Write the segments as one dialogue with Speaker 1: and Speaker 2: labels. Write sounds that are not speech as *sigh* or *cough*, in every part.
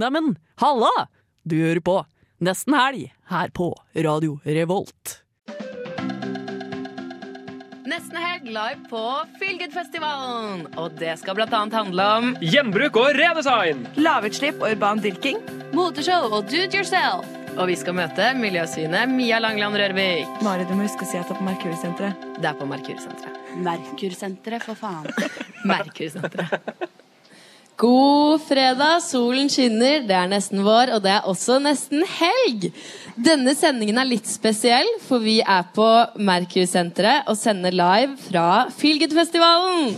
Speaker 1: Neimen, halla! Du hører på Nesten Helg her på Radio Revolt.
Speaker 2: Nesten helg live på Fylgudfestivalen. Og det skal blant annet handle om
Speaker 3: Gjenbruk og redesign!
Speaker 4: Lavutslipp, urban dyrking,
Speaker 2: moteshow og do it yourself. Og vi skal møte miljøsynet Mia Langland Rørvik.
Speaker 4: Mari, du må huske å si at det er på Merkursenteret.
Speaker 2: Det er på Merkursenteret.
Speaker 5: Merkursenteret, for
Speaker 4: *laughs*
Speaker 5: faen.
Speaker 2: Merkursenteret. God fredag, solen skinner, det er nesten vår, og det er også nesten helg. Denne sendingen er litt spesiell, for vi er på Merkur-senteret og sender live fra Feelgood-festivalen.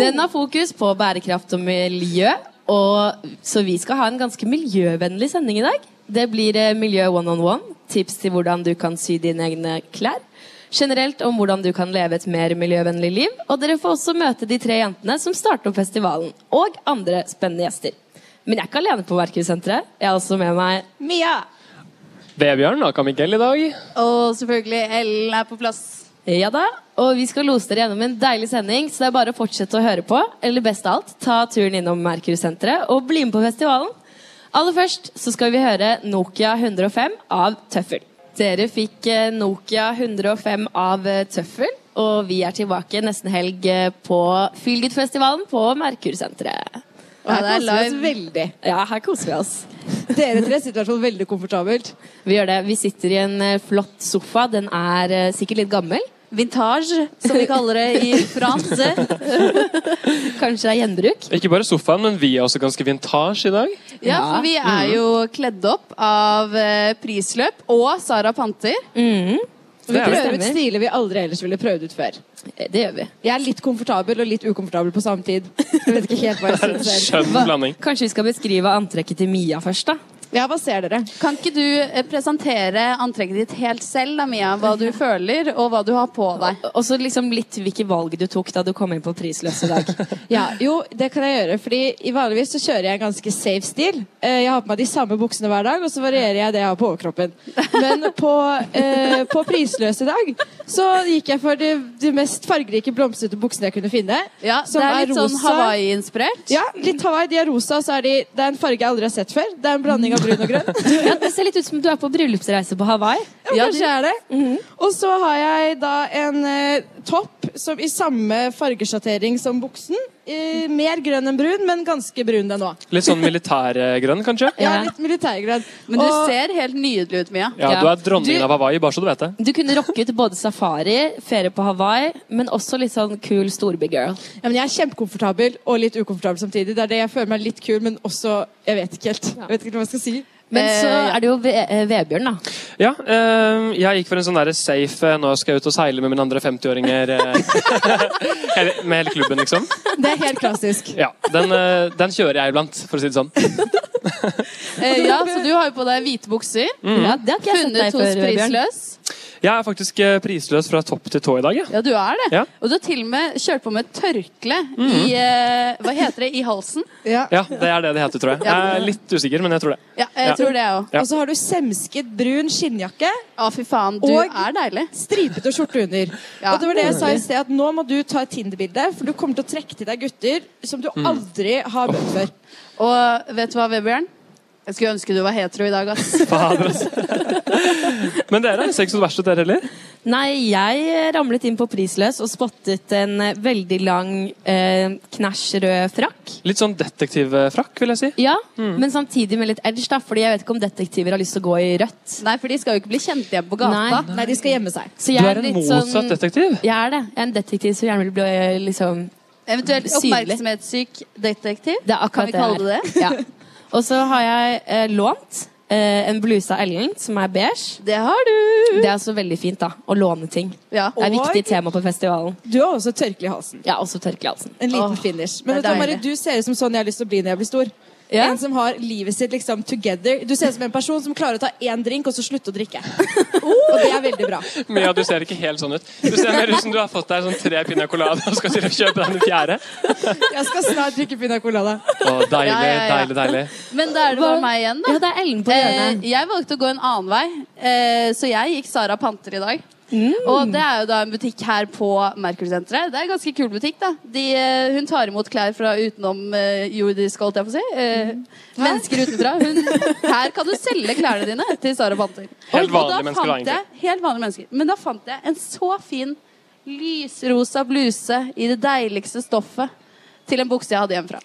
Speaker 2: Den har fokus på bærekraft og miljø, og så vi skal ha en ganske miljøvennlig sending i dag. Det blir eh, Miljø one-on-one, tips til hvordan du kan sy dine egne klær generelt om hvordan du kan leve et mer miljøvennlig liv. Og dere får også møte de tre jentene som starter opp festivalen, og andre spennende gjester. Men jeg er ikke alene på Merkursenteret. Jeg har også med meg
Speaker 6: Mia!
Speaker 3: Vebjørn og Kamikael i dag.
Speaker 6: Og selvfølgelig Ellen er på plass.
Speaker 2: Ja da, og vi skal lose dere gjennom en deilig sending, så det er bare å fortsette å høre på. Eller best av alt, ta turen innom Merkursenteret og bli med på festivalen. Aller først så skal vi høre Nokia 105 av Tøffel. Dere fikk eh, Nokia 105 av eh, Tøffel, og vi er tilbake nesten helg eh, på Fylgutfestivalen på Merkursenteret.
Speaker 6: Og her
Speaker 4: det er
Speaker 6: koser vi oss
Speaker 4: live.
Speaker 6: veldig.
Speaker 2: Ja, her koser vi oss.
Speaker 6: Dere tre sitter i hvert fall veldig komfortabelt.
Speaker 2: Vi gjør det. Vi sitter i en eh, flott sofa. Den er eh, sikkert litt gammel.
Speaker 4: Vintage, som vi kaller det i France.
Speaker 2: *laughs* Kanskje det er gjenbruk.
Speaker 3: Ikke bare sofaen, men vi er også ganske vintage i dag.
Speaker 6: Ja, for vi
Speaker 3: Mm.
Speaker 6: er jo kledd opp av eh, Prisløp og Sara Panter.
Speaker 2: Mm.
Speaker 6: Og vi
Speaker 3: Det er det.
Speaker 6: prøver ut
Speaker 2: Stemmer.
Speaker 6: stiler vi aldri ellers ville prøvd ut før.
Speaker 2: Eh, Det gjør vi.
Speaker 6: Jeg er litt komfortabel og litt ukomfortabel på samme tid. *laughs* Jeg vet ikke helt hva jeg synes selv.
Speaker 3: Skjønn blanding.
Speaker 2: Kanskje vi skal beskrive antrekket til Mia først, da?
Speaker 6: Ja, hva ser dere?
Speaker 4: Kan ikke du eh, presentere antrekket ditt helt selv, da, Mia? Hva du føler, og hva du har på deg.
Speaker 2: Og så liksom litt hvilke valg du tok da du kom inn på Prisløs i dag.
Speaker 4: *laughs*
Speaker 6: Ja, jo, det kan jeg gjøre. Fordi i vanligvis så kjører jeg en ganske safe stil. Eh, Jeg har på meg de samme buksene hver dag, og så varierer jeg det jeg har på overkroppen. Men på, eh, på prisløs i dag så gikk jeg for de, de mest fargerike, blomstrete buksene jeg kunne finne.
Speaker 4: Ja,
Speaker 6: som
Speaker 4: det er litt sånn
Speaker 6: rosa.
Speaker 4: Hawaii-inspirert.
Speaker 6: Ja, litt Hawaii. De er rosa, og så er de Det er en farge jeg aldri har sett før. Det er en blanding av brun og grønn.
Speaker 2: *laughs* Ja, det ser litt ut som du er på bryllupsreise på Hawaii. Mhm.
Speaker 6: Ja, kanskje jeg er det. Og så har jeg da en eh, topp som i samme fargesjattering som buksen. Eh, mer grønn enn brun, men ganske brun den òg.
Speaker 3: Litt sånn militærgrønn, kanskje?
Speaker 6: Ja,
Speaker 2: Ja.
Speaker 6: litt militærgrønn.
Speaker 4: Men du
Speaker 6: Og-
Speaker 4: ser helt nydelig ut, Mia.
Speaker 3: Ja,
Speaker 2: Ja.
Speaker 3: du er dronningen
Speaker 2: Du-
Speaker 3: av Hawaii, bare så du vet det.
Speaker 2: Du kunne rocke ut både safari, ferie på Hawaii, men også litt sånn cool storbygirl.
Speaker 6: ja, men Jeg er kjempekomfortabel og litt ukomfortabel samtidig. Det er det jeg føler meg litt kul, men også Jeg vet ikke helt. Jeg vet ikke helt hva jeg skal si.
Speaker 2: Men så
Speaker 4: Eh, ja.
Speaker 2: er det jo Ve- eh, Vebjørn, da.
Speaker 3: Ja, eh, jeg gikk for en sånn der safe eh, Nå skal jeg ut og seile med mine andre 50-åringer. eh, *laughs* hele- med hele klubben, liksom.
Speaker 6: Det er helt klassisk.
Speaker 3: Ja, den, eh, den kjører jeg iblant, for å si det sånn.
Speaker 4: Eh, ja, så du har jo på deg hvite bukser.
Speaker 2: Mm. Ja, det har ikke jeg sett
Speaker 4: Funnet
Speaker 2: deg før,
Speaker 4: hos
Speaker 2: Vebjørn.
Speaker 4: Prisløs.
Speaker 3: Jeg er faktisk eh, prisløs fra topp til tå i dag, jeg.
Speaker 4: Ja, du er det.
Speaker 3: Ja. Mhm.
Speaker 4: Og du har til og med kjørt på med et tørkle i eh, Hva heter det? I halsen?
Speaker 6: Ja.
Speaker 3: Ja, det er det det heter, tror jeg. Jeg er litt usikker, men jeg tror det.
Speaker 4: Ja, jeg
Speaker 3: Ja.
Speaker 4: tror det, jeg òg.
Speaker 3: Ja.
Speaker 6: Og så har du semsket brun skinnjakke,
Speaker 4: Å, fy faen. Du
Speaker 6: Og-
Speaker 4: er deilig.
Speaker 6: stripete skjorte under.
Speaker 4: Ja.
Speaker 6: Og det var det jeg sa i sted, at nå må du ta et Tinder-bilde, for du kommer til å trekke til deg gutter som du
Speaker 3: Mhm.
Speaker 6: aldri har møtt før.
Speaker 4: Og vet du hva, Vebjørn? Jeg skulle ønske du var hetero i dag, ass.
Speaker 3: Fader, altså. *laughs* Men dere ser ikke så verst ut, dere heller.
Speaker 2: *laughs* Nei, jeg eh, ramlet inn på Prisløs og spottet en eh, veldig lang eh, knæsj rød frakk.
Speaker 3: Litt sånn detektivfrakk, vil jeg si. Mm.
Speaker 2: Ja, men samtidig med litt edge, da, fordi jeg vet ikke om detektiver har lyst til å gå i rødt.
Speaker 4: Nei, for de skal jo ikke bli kjent igjen på gata.
Speaker 6: Nei, de skal gjemme seg.
Speaker 2: Så
Speaker 3: Du
Speaker 2: jeg
Speaker 3: er en
Speaker 2: litt
Speaker 3: motsatt
Speaker 2: sånn-
Speaker 3: detektiv.
Speaker 2: Jeg er det. Jeg er en detektiv som gjerne vil bli eh, liksom
Speaker 4: Eventuelt
Speaker 2: Synlig.
Speaker 4: oppmerksomhetssyk detektiv.
Speaker 2: Det er akkurat
Speaker 4: kan vi kalle
Speaker 2: jeg
Speaker 4: det
Speaker 2: er. *laughs* Ja. Og så har jeg eh, lånt eh, en bluse av Ellen, som er beige.
Speaker 4: Det har du!
Speaker 2: Det er også veldig fint, da. Å låne ting.
Speaker 4: Ja.
Speaker 2: Det er et
Speaker 6: Og-
Speaker 2: viktig tema på festivalen.
Speaker 6: Du har også tørkle i halsen.
Speaker 2: Ja, også tørkle i halsen.
Speaker 6: En liten
Speaker 4: Åh,
Speaker 6: finish.
Speaker 4: det
Speaker 6: Men
Speaker 4: er
Speaker 6: vet du, hva, Mari,
Speaker 4: deilig.
Speaker 6: du ser ut som sånn jeg har lyst til å bli når jeg blir stor.
Speaker 2: Ja.
Speaker 6: En som har livet sitt liksom together. Du ser ut som en person som klarer å ta én drink og så slutte å *laughs* drikke. Og det er veldig bra.
Speaker 3: Mia, du ser ikke helt sånn ut. Du ser mer ut som du har fått deg sånn tre piña colada og skal til å kjøpe deg den fjerde.
Speaker 6: Jeg skal snart drikke pina colada.
Speaker 3: Å, deilig,
Speaker 4: Ja, ja, ja.
Speaker 3: deilig, deilig.
Speaker 4: Men da er det bare
Speaker 2: Hva-
Speaker 4: meg igjen, da.
Speaker 2: Ja, det er Ellen på
Speaker 4: Eh,
Speaker 2: hjørnet.
Speaker 4: jeg valgte å gå en annen vei, eh, så jeg gikk Sara Panter i dag. Og det er jo da en butikk her på Merkur-senteret. Det er en ganske kul butikk, da. De, eh, hun tar imot klær fra utenom eh, jordisk, holdt jeg på å si. Eh, mennesker utenfra. Hun, her kan du selge klærne dine til Sara Panter.
Speaker 3: Helt
Speaker 4: Og- og da
Speaker 3: vanlige mennesker, da,
Speaker 4: fant jeg- Helt vanlige mennesker. Men da fant jeg en så fin lysrosa bluse i det deiligste stoffet til en bukse jeg hadde hjemmefra.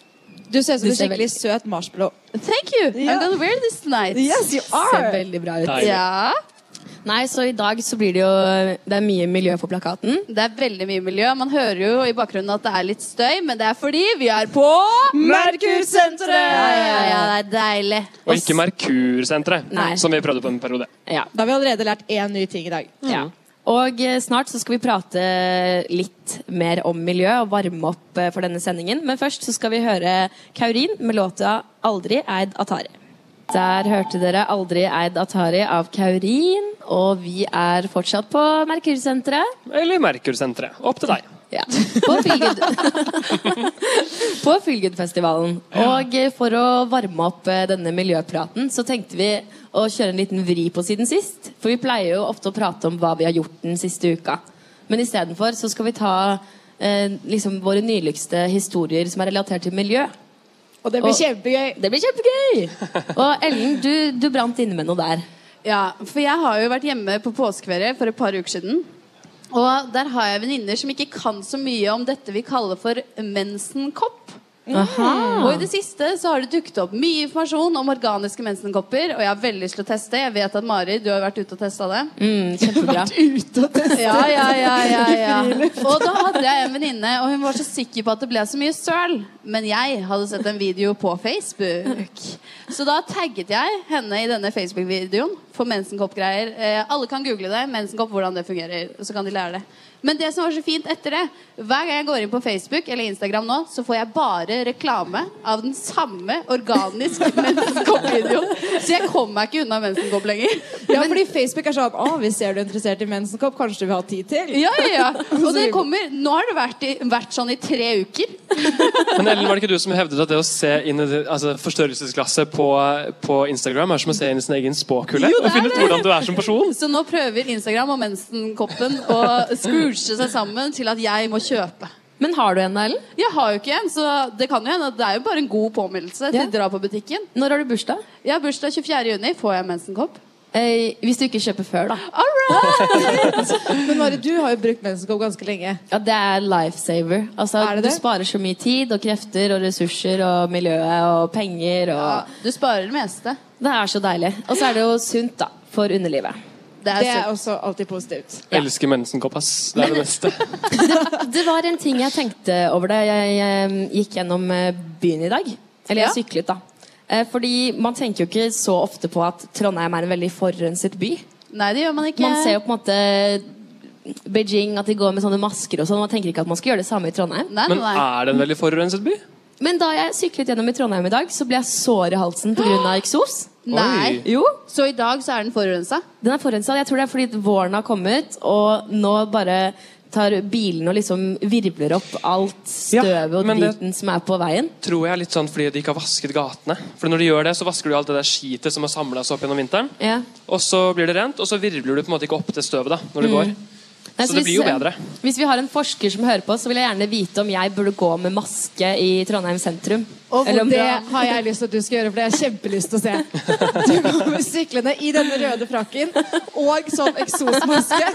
Speaker 6: Du ser ut som
Speaker 2: Du
Speaker 6: en
Speaker 2: ser
Speaker 6: skikkelig søt marshmallow.
Speaker 4: Thank you! I'm gonna wear this tonight.
Speaker 6: Yes, you
Speaker 2: Ser
Speaker 6: are!
Speaker 2: veldig bra ut.
Speaker 3: Deilig.
Speaker 4: Ja.
Speaker 2: Nei, så i dag så blir det jo Det er mye miljø på plakaten.
Speaker 4: Det er veldig mye miljø. Man hører jo i bakgrunnen at det er litt støy, men det er fordi vi er på Ja, ja, ja, det er deilig.
Speaker 3: Og ikke Merkursenteret,
Speaker 2: Nei.
Speaker 3: som vi prøvde på en periode.
Speaker 2: Ja. Mm.
Speaker 6: Da har vi allerede lært én ny ting i dag.
Speaker 4: Mm.
Speaker 2: ja. Og eh, snart så skal vi prate litt mer om miljø og varme opp eh, for denne sendingen. Men først så skal vi høre Kaurin med låta 'Aldri eid Atari'. Der hørte dere 'Aldri eid Atari' av Kaurin, og vi er fortsatt på Merkursenteret.
Speaker 3: Eller Merkursenteret. Opp til deg.
Speaker 2: Ja. På Fylgud. *laughs* på Fylgudfestivalen. Og eh, for å varme opp eh, denne miljøpraten, så tenkte vi å kjøre en liten vri på siden sist. For vi pleier jo ofte å prate om hva vi har gjort den siste uka. Men istedenfor så skal vi ta eh, liksom våre nyligste historier som er relatert til miljø.
Speaker 6: Og det blir
Speaker 2: Og-
Speaker 6: kjempegøy.
Speaker 2: Det blir kjempegøy! Og Ellen, du, du brant inne med noe der.
Speaker 4: Ja, for jeg har jo vært hjemme på påskeferie for et par uker siden. Og der har jeg venninner som ikke kan så mye om dette vi kaller for mensenkopp. Og i det siste så har det dukket opp mye informasjon om organiske mensenkopper. Og jeg har veldig lyst til å teste. Jeg vet at Mari, du har vært ute og testa det.
Speaker 2: Mm,
Speaker 6: *laughs*
Speaker 2: kjempebra.
Speaker 4: Ja, ja, ja, ja, ja. Og da hadde jeg en venninne, og hun var så sikker på at det ble så mye søl. Men jeg hadde sett en video på Facebook. Så da tagget jeg henne i denne Facebook-videoen for mensenkoppgreier. Eh, alle kan google det, mensenkopp, hvordan det fungerer. Og så kan de lære det. Men det som var så fint etter det, hver gang jeg går inn på Facebook eller Instagram nå, så får jeg bare reklame av den samme organisk mensenkopp-videoen. Så jeg kommer meg ikke unna mensenkopp lenger.
Speaker 6: Ja, fordi Facebook er sånn Å, vi ser du er interessert i mensenkopp, kanskje du vil ha tid til?
Speaker 4: Ja,
Speaker 6: *laughs*
Speaker 4: ja, ja. Og det kommer Nå har det vært, i, vært sånn i tre uker.
Speaker 3: Men Ellen, var det ikke du som hevdet at det å se inn i det- altså, forstørrelsesglasset på, på Instagram er som å se inn i sin egen spåkule?
Speaker 4: Jo, det er
Speaker 3: Og finne ut
Speaker 4: det.
Speaker 3: hvordan du er som person?
Speaker 4: Så nå prøver Instagram og mensenkoppen å scrooge seg sammen til at jeg må kjøpe.
Speaker 2: Men har du en, da, Ellen?
Speaker 4: Jeg har jo ikke en, så det kan jo hende at det er jo bare en god påminnelse til
Speaker 2: Ja.
Speaker 4: å dra på butikken.
Speaker 2: Når har du bursdag?
Speaker 4: Jeg har bursdag 24. juni. Får jeg mensenkopp? Ah,
Speaker 2: Eh, hvis du ikke kjøper før, da.
Speaker 4: All right!
Speaker 6: *laughs* Men Mari, du har jo brukt mensenkopp ganske lenge.
Speaker 2: Ja, det er lifesaver. Altså,
Speaker 6: Er det
Speaker 2: du
Speaker 6: det?
Speaker 2: sparer så mye tid og krefter og ressurser og miljøet og penger og
Speaker 4: Du sparer det meste.
Speaker 2: Det er så deilig. Og så er det jo sunt, da. For underlivet.
Speaker 4: Det er
Speaker 6: Det er
Speaker 4: sunt.
Speaker 6: også alltid positivt.
Speaker 2: Ja.
Speaker 3: Elsker mensenkopp, ass. Det er det beste.
Speaker 2: *laughs* Det var en ting jeg tenkte over da jeg eh, gikk gjennom eh, byen i dag. Eller jeg syklet, da. Eh, Fordi man tenker jo ikke så ofte på at Trondheim er en veldig forurenset by.
Speaker 4: Nei, det gjør man ikke.
Speaker 2: Man ser jo på en måte Beijing, at de går med sånne masker og sånn. Man tenker ikke at man skal gjøre det samme i Trondheim.
Speaker 4: Nei, nei,
Speaker 3: Men
Speaker 4: nei.
Speaker 3: er det en veldig forurenset by?
Speaker 2: Men da jeg syklet gjennom i Trondheim i dag, så ble jeg sår i halsen pga. eksos.
Speaker 4: nei.
Speaker 3: Oi.
Speaker 2: Jo,
Speaker 4: Så i dag så er den forurensa?
Speaker 2: den er forurensa. Jeg tror det er fordi våren har kommet, og nå bare tar bilen og liksom virvler opp alt støvet og
Speaker 3: men det-
Speaker 2: driten som er på veien.
Speaker 3: Tror jeg er litt sånn fordi de ikke har vasket gatene. For når de gjør det, så vasker du alt det der skitet som har samla seg opp gjennom vinteren.
Speaker 2: Ja.
Speaker 3: Og så blir det rent, og så virvler du på en måte ikke opp det støvet da,
Speaker 6: Mm.
Speaker 3: når du går.
Speaker 2: Nei,
Speaker 3: Så det blir jo
Speaker 2: hvis, eh,
Speaker 3: bedre.
Speaker 2: Hvis vi har en forsker som hører på, så vil jeg gjerne vite om jeg burde gå med maske i Trondheim sentrum.
Speaker 6: Og
Speaker 2: Eller om
Speaker 6: det
Speaker 2: da-
Speaker 6: har jeg lyst til at du skal gjøre, for det har jeg kjempelyst til å se. Du kommer syklende i denne røde frakken og som eksosmaske.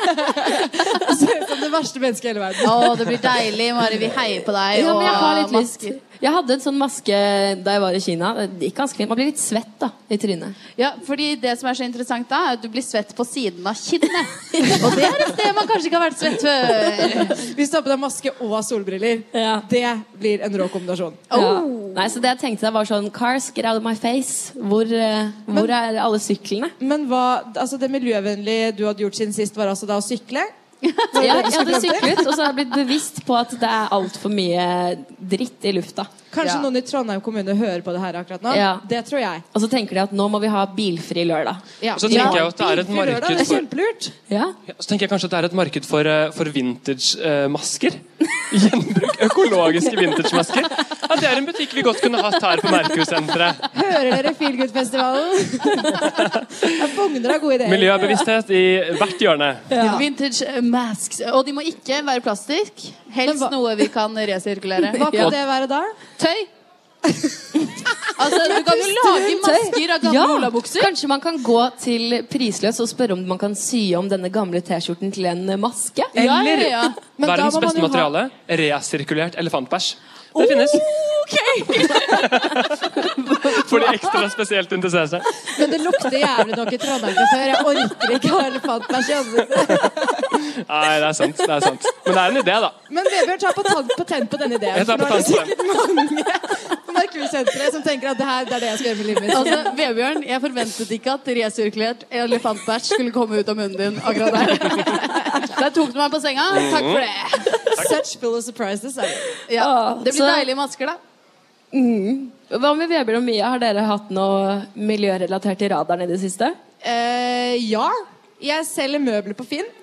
Speaker 6: Du Ser ut som det verste mennesket i hele verden.
Speaker 4: Å, det blir deilig, Mari. Vi heier på deg.
Speaker 2: Ja, men jeg har litt
Speaker 4: og
Speaker 2: lyst. Jeg hadde en sånn maske da jeg var i Kina. Det gikk ganske fint. Man blir litt svett da, i trynet.
Speaker 4: *laughs* Ja, fordi det som er så interessant da, er at du blir svett på siden av kinnet.
Speaker 2: *laughs*
Speaker 4: Og det er et sted man kanskje ikke har vært svett før.
Speaker 6: Hvis du har på deg maske og solbriller,
Speaker 2: Ja.
Speaker 6: det blir en rå kombinasjon. Oh.
Speaker 2: Ja. Nei, så det jeg tenkte da var sånn Cars, get out of my face. Hvor, eh, hvor er alle syklene?
Speaker 6: Men hva, altså det miljøvennlige du hadde gjort siden sist, var altså da å sykle?
Speaker 2: *laughs* Ja, jeg hadde syklet, og så har jeg blitt bevisst på at det er altfor mye dritt i lufta.
Speaker 6: Kanskje
Speaker 4: Ja.
Speaker 6: noen i Trondheim kommune hører på det her akkurat nå?
Speaker 2: Ja.
Speaker 6: Det tror jeg.
Speaker 2: Og så tenker de at nå må vi ha bilfri lørdag.
Speaker 6: Ja.
Speaker 3: Og så tenker
Speaker 6: Ja.
Speaker 3: jeg jo at det er et
Speaker 6: Bilfri lørdag,
Speaker 3: marked
Speaker 6: Det er
Speaker 3: for-
Speaker 6: kjempelurt.
Speaker 2: Ja.
Speaker 3: Ja, Så tenker jeg kanskje at det er et marked for, eh, for vintage-masker. *laughs* Gjenbruk økologiske vintage-masker. Ja, det er en butikk vi godt kunne hatt her på Merkur-senteret.
Speaker 6: Hører dere
Speaker 3: *laughs*
Speaker 6: Feelgood-festivalen? Jeg bugner av gode ideer.
Speaker 3: Miljøbevissthet i hvert hjørne.
Speaker 4: Vintage eh, masks. Og de må ikke være plastikk.
Speaker 6: Men
Speaker 4: Helst
Speaker 6: hva-
Speaker 4: noe vi kan resirkulere.
Speaker 6: *laughs* Hva kan det være da?
Speaker 4: Tøy. altså, du kan jo lage masker av gamle olabukser.
Speaker 2: Kanskje man kan gå til prisløs og spørre om man kan sy om denne gamle T-skjorten til en eh, maske?
Speaker 4: Ja, ja, ja.
Speaker 6: Men da
Speaker 3: Verdens
Speaker 6: må man
Speaker 3: beste
Speaker 6: jo ha-
Speaker 3: materiale. Resirkulert elefantbæsj.
Speaker 6: *laughs*
Speaker 3: Det finnes. For de ekstra spesielt interesserte.
Speaker 6: Oh, Men det lukter jævlig nok i Trondheim fra før. Jeg orker ikke ha elefantbæsj i ansiktet.
Speaker 3: Nei, det er sant. det er sant. Men det er en idé, da.
Speaker 6: Men Vebjørn, ta patent på, tenn på denne ideen.
Speaker 3: Jeg tar
Speaker 6: for nå er det
Speaker 3: patent
Speaker 6: sikkert mange på Merkur-senteret som tenker at det her det er det jeg skal gjøre med livet mitt.
Speaker 4: Altså, Vebjørn, jeg forventet ikke at resirkulert elefantbæsj skulle komme ut av munnen din akkurat der. Der tok du meg på senga. Takk for det.
Speaker 6: *laughs* Such full of surprises. Er det.
Speaker 4: Ja. Det blir
Speaker 2: så-
Speaker 4: deilige masker, da.
Speaker 2: Mm. Hva med Vebjørn og Mia? Har dere hatt noe miljørelatert i radaren i det siste?
Speaker 6: Eh, ja, jeg selger møbler på Finn.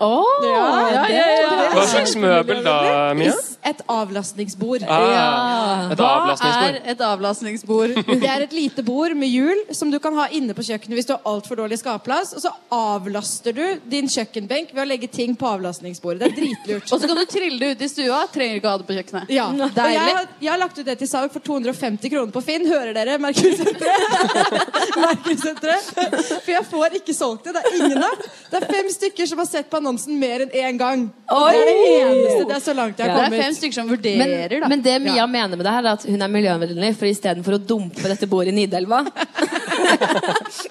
Speaker 2: Oh,
Speaker 6: Ja, det-
Speaker 3: Hva slags møbel da, Mia?
Speaker 6: Et avlastningsbord.
Speaker 3: Ah, et avlastningsbord.
Speaker 4: er et avlastningsbord?
Speaker 6: *laughs* Det er et lite bord med hjul som du kan ha inne på kjøkkenet hvis du har altfor dårlig skapplass. Og så avlaster du din kjøkkenbenk ved å legge ting på avlastningsbordet. Det er dritlurt.
Speaker 4: *laughs* Og så kan du trille det ut i stua. Trenger ikke ha det på kjøkkenet.
Speaker 6: Ja, og jeg, har- jeg har lagt ut det til salg for 250 kroner på Finn. Hører dere
Speaker 4: *laughs*
Speaker 6: Merkursenteret? Merkursenteret. For jeg får ikke solgt det. Det er ingen av. Det er fem stykker som har sett på annonsen mer enn én gang. Det er det eneste. Det er så langt jeg har
Speaker 4: Det er fem
Speaker 6: kommet.
Speaker 4: stykker som
Speaker 2: Men,
Speaker 4: vurderer, da.
Speaker 2: men det Mia mener med det her, er at hun er miljøvennlig, for istedenfor å dumpe dette bordet i Nidelva, *laughs*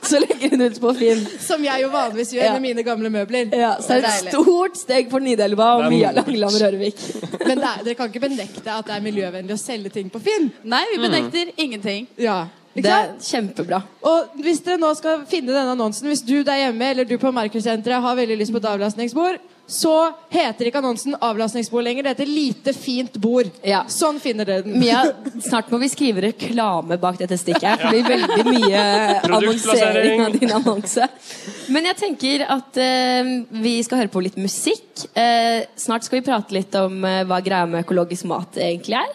Speaker 2: så legger hun ut på Finn.
Speaker 6: Som jeg jo vanligvis gjør
Speaker 2: Ja.
Speaker 6: med mine gamle møbler.
Speaker 2: Ja, så det er
Speaker 4: Deilig.
Speaker 2: et stort steg for Nidelva og
Speaker 3: Det er
Speaker 2: Mia
Speaker 3: moro.
Speaker 2: Langeland Rørvik.
Speaker 6: *laughs* Men det er, dere kan ikke benekte at det er miljøvennlig å selge ting på Finn.
Speaker 4: Nei, vi
Speaker 3: Mm.
Speaker 4: benekter ingenting.
Speaker 6: Ja, ikke
Speaker 2: Det er
Speaker 6: sant?
Speaker 2: kjempebra.
Speaker 6: Og hvis dere nå skal finne denne annonsen Hvis du der hjemme eller du på Merkursenteret har veldig lyst på et avlastningsbord, så heter ikke annonsen 'avlastningsbord' lenger. Det heter 'lite fint bord'.
Speaker 2: Ja.
Speaker 6: Sånn finner dere den.
Speaker 2: Mia, snart må vi skrive reklame bak dette stikket her. For det blir veldig mye annonsering
Speaker 3: Produktplassering.
Speaker 2: av din annonse. Men jeg tenker at eh, vi skal høre på litt musikk. Eh, snart skal vi prate litt om eh, hva greia med økologisk mat egentlig er.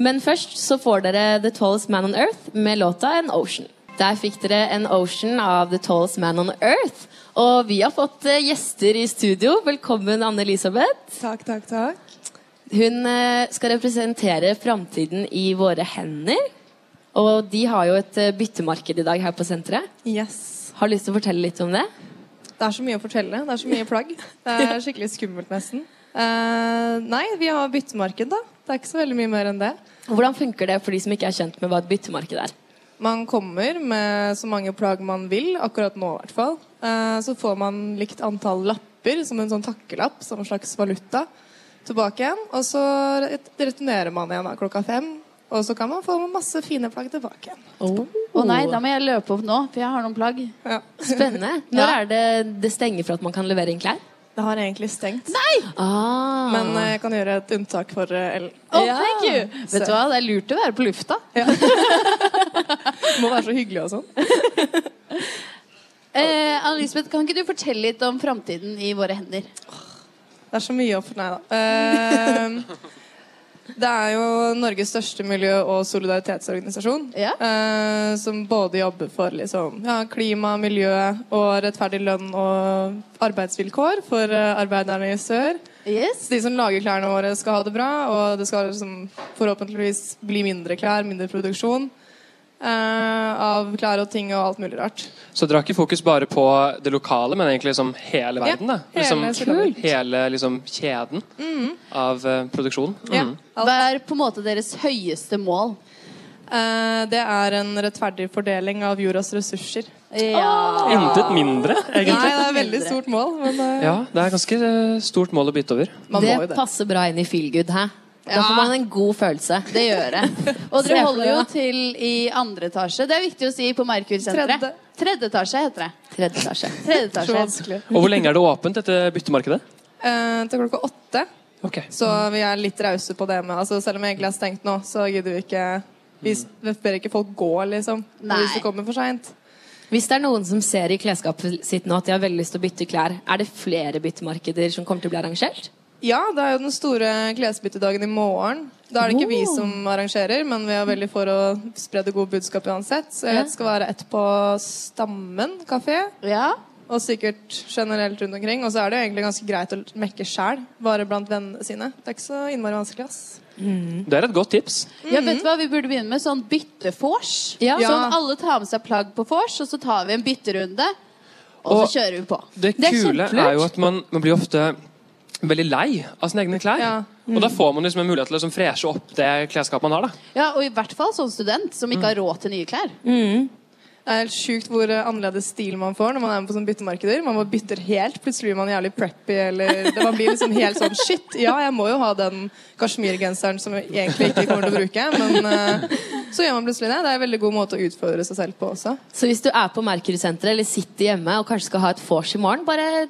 Speaker 2: Men først så får dere The Tallest Man on Earth med låta An Ocean. Der fikk dere An Ocean av The Tallest Man on Earth. Og vi har fått eh, gjester i studio. Velkommen, Anne-Elisabeth.
Speaker 6: Takk, takk, takk.
Speaker 2: Hun eh, skal representere framtiden i våre hender. Og de har jo et eh, byttemarked i dag her på senteret.
Speaker 7: Yes.
Speaker 2: Har du lyst til å fortelle litt om det?
Speaker 7: Det er så mye å fortelle. Det er så mye plagg. Det
Speaker 2: *laughs*
Speaker 7: er skikkelig skummelt, nesten. Eh, nei, vi har byttemarked, da. Det er ikke så veldig mye mer enn det.
Speaker 2: Hvordan funker det for de som ikke er kjent med hva et byttemarked er?
Speaker 7: Man kommer med så mange plagg man vil, akkurat nå i hvert fall. Eh, så får man likt antall lapper, som en sånn takkelapp, som en slags valuta, tilbake igjen. Og så ret- returnerer man igjen da, klokka fem. Og så kan man få masse fine plagg tilbake igjen.
Speaker 4: Å nei, da må jeg løpe opp nå, for jeg har noen plagg.
Speaker 7: Ja. *laughs*
Speaker 2: Spennende. Når er det det stenger for at man kan levere inn klær?
Speaker 7: Det har egentlig stengt,
Speaker 2: Ah.
Speaker 7: men eh, jeg kan gjøre et unntak for eh, Ellen.
Speaker 4: Å, thank you! Vet du hva, det er lurt å være på lufta. *laughs*
Speaker 7: Må være så hyggelig og sånn.
Speaker 4: Eh, Anne-Lisbeth, kan ikke du fortelle litt om framtiden i våre hender?
Speaker 7: Det er så mye å for... Nei da. Ehm, det er jo Norges største miljø- og solidaritetsorganisasjon.
Speaker 4: Ja.
Speaker 7: eh, som både jobber for liksom, ja, klima, miljø og rettferdig lønn og arbeidsvilkår for eh, arbeiderne i sør.
Speaker 4: Yes.
Speaker 7: Så de som lager klærne våre, skal ha det bra, og det skal liksom, forhåpentligvis bli mindre klær, mindre produksjon eh, av klær og ting og alt mulig rart.
Speaker 3: Så dere har ikke fokus bare på det lokale, men egentlig liksom hele verden? da
Speaker 7: hele
Speaker 3: Liksom,
Speaker 7: Sør-Norge.
Speaker 3: hele liksom, kjeden
Speaker 4: Mm.
Speaker 3: av eh, produksjon?
Speaker 7: Ja.
Speaker 3: Mhm.
Speaker 4: Hva er på en måte deres høyeste mål?
Speaker 7: Eh, det er en rettferdig fordeling av jordas ressurser.
Speaker 4: Ja.
Speaker 3: Intet mindre, egentlig.
Speaker 7: Nei, det er et veldig stort mål, men eh,
Speaker 3: Ja, det er ganske eh, stort mål å bytte over.
Speaker 7: man
Speaker 2: det
Speaker 7: må jo det.
Speaker 2: passer bra inn i feelgood, hæ? Da
Speaker 4: Ja.
Speaker 2: får man en god følelse.
Speaker 4: Det gjør det.
Speaker 7: *laughs*
Speaker 4: Og
Speaker 2: Se
Speaker 4: dere
Speaker 2: for
Speaker 4: holder jo
Speaker 2: deg.
Speaker 4: til i andre etasje. Det er viktig å si på Merkur-senteret.
Speaker 7: Tredje.
Speaker 4: Tredje etasje heter det.
Speaker 2: Tredje etasje.
Speaker 4: Tredje
Speaker 7: Så
Speaker 4: etasje.
Speaker 7: vanskelig.
Speaker 3: Og hvor lenge er det åpent, dette byttemarkedet?
Speaker 7: Eh, til klokka åtte.
Speaker 3: Ok,
Speaker 7: Så vi er litt rause på det med altså, Selv om jeg egentlig er stengt nå, så gidder vi ikke Vi s- vi ber ikke folk gå, liksom.
Speaker 4: Nei.
Speaker 7: Hvis det kommer for seint.
Speaker 2: Hvis det er noen som ser i klesskapet sitt nå at de har veldig lyst til å bytte klær, er det flere byttemarkeder som kommer til å bli arrangert?
Speaker 7: Ja, det er jo den store klesbyttedagen i morgen. Da er det ikke vi
Speaker 4: Oh.
Speaker 7: som arrangerer, men vi er veldig for å spre det gode budskapet uansett. Så jeg vet det skal være ett på Stammen kafé,
Speaker 4: Ja.
Speaker 7: og sikkert generelt rundt omkring. Og så er det jo egentlig ganske greit å mekke sjæl, bare blant vennene sine. Det er ikke så innmari vanskelig, ass.
Speaker 3: Det er et godt tips.
Speaker 4: ja, vet du hva? Vi burde begynne med sånn byttefors.
Speaker 2: Ja.
Speaker 4: Sånn alle tar med seg plagg på vors, og så tar vi en bytterunde. Og,
Speaker 3: Og-
Speaker 4: så kjører vi på.
Speaker 3: Det
Speaker 4: Det er
Speaker 3: kule
Speaker 4: kjempelurt.
Speaker 3: er jo at man, man blir ofte veldig lei av sine egne klær.
Speaker 7: Ja.
Speaker 3: Og da får man liksom en mulighet til å liksom freshe opp det klesskapet man har. da.
Speaker 4: Ja, Og i hvert fall sånn student som ikke har råd til nye klær.
Speaker 7: Det er helt sjukt hvor eh, annerledes stil man får når man er med på sånne byttemarkeder. Man bare bytter helt. Plutselig blir man jævlig preppy, eller
Speaker 4: *laughs*
Speaker 7: det- man blir liksom helt sånn shit. Ja, jeg må jo ha den kasjmirgenseren som jeg egentlig ikke kommer til å bruke, men eh, så gjør man plutselig det. Det er en veldig god måte å utfordre seg selv på også.
Speaker 2: Så hvis du er på Mercury-senteret eller sitter hjemme og kanskje skal ha et vors i morgen, bare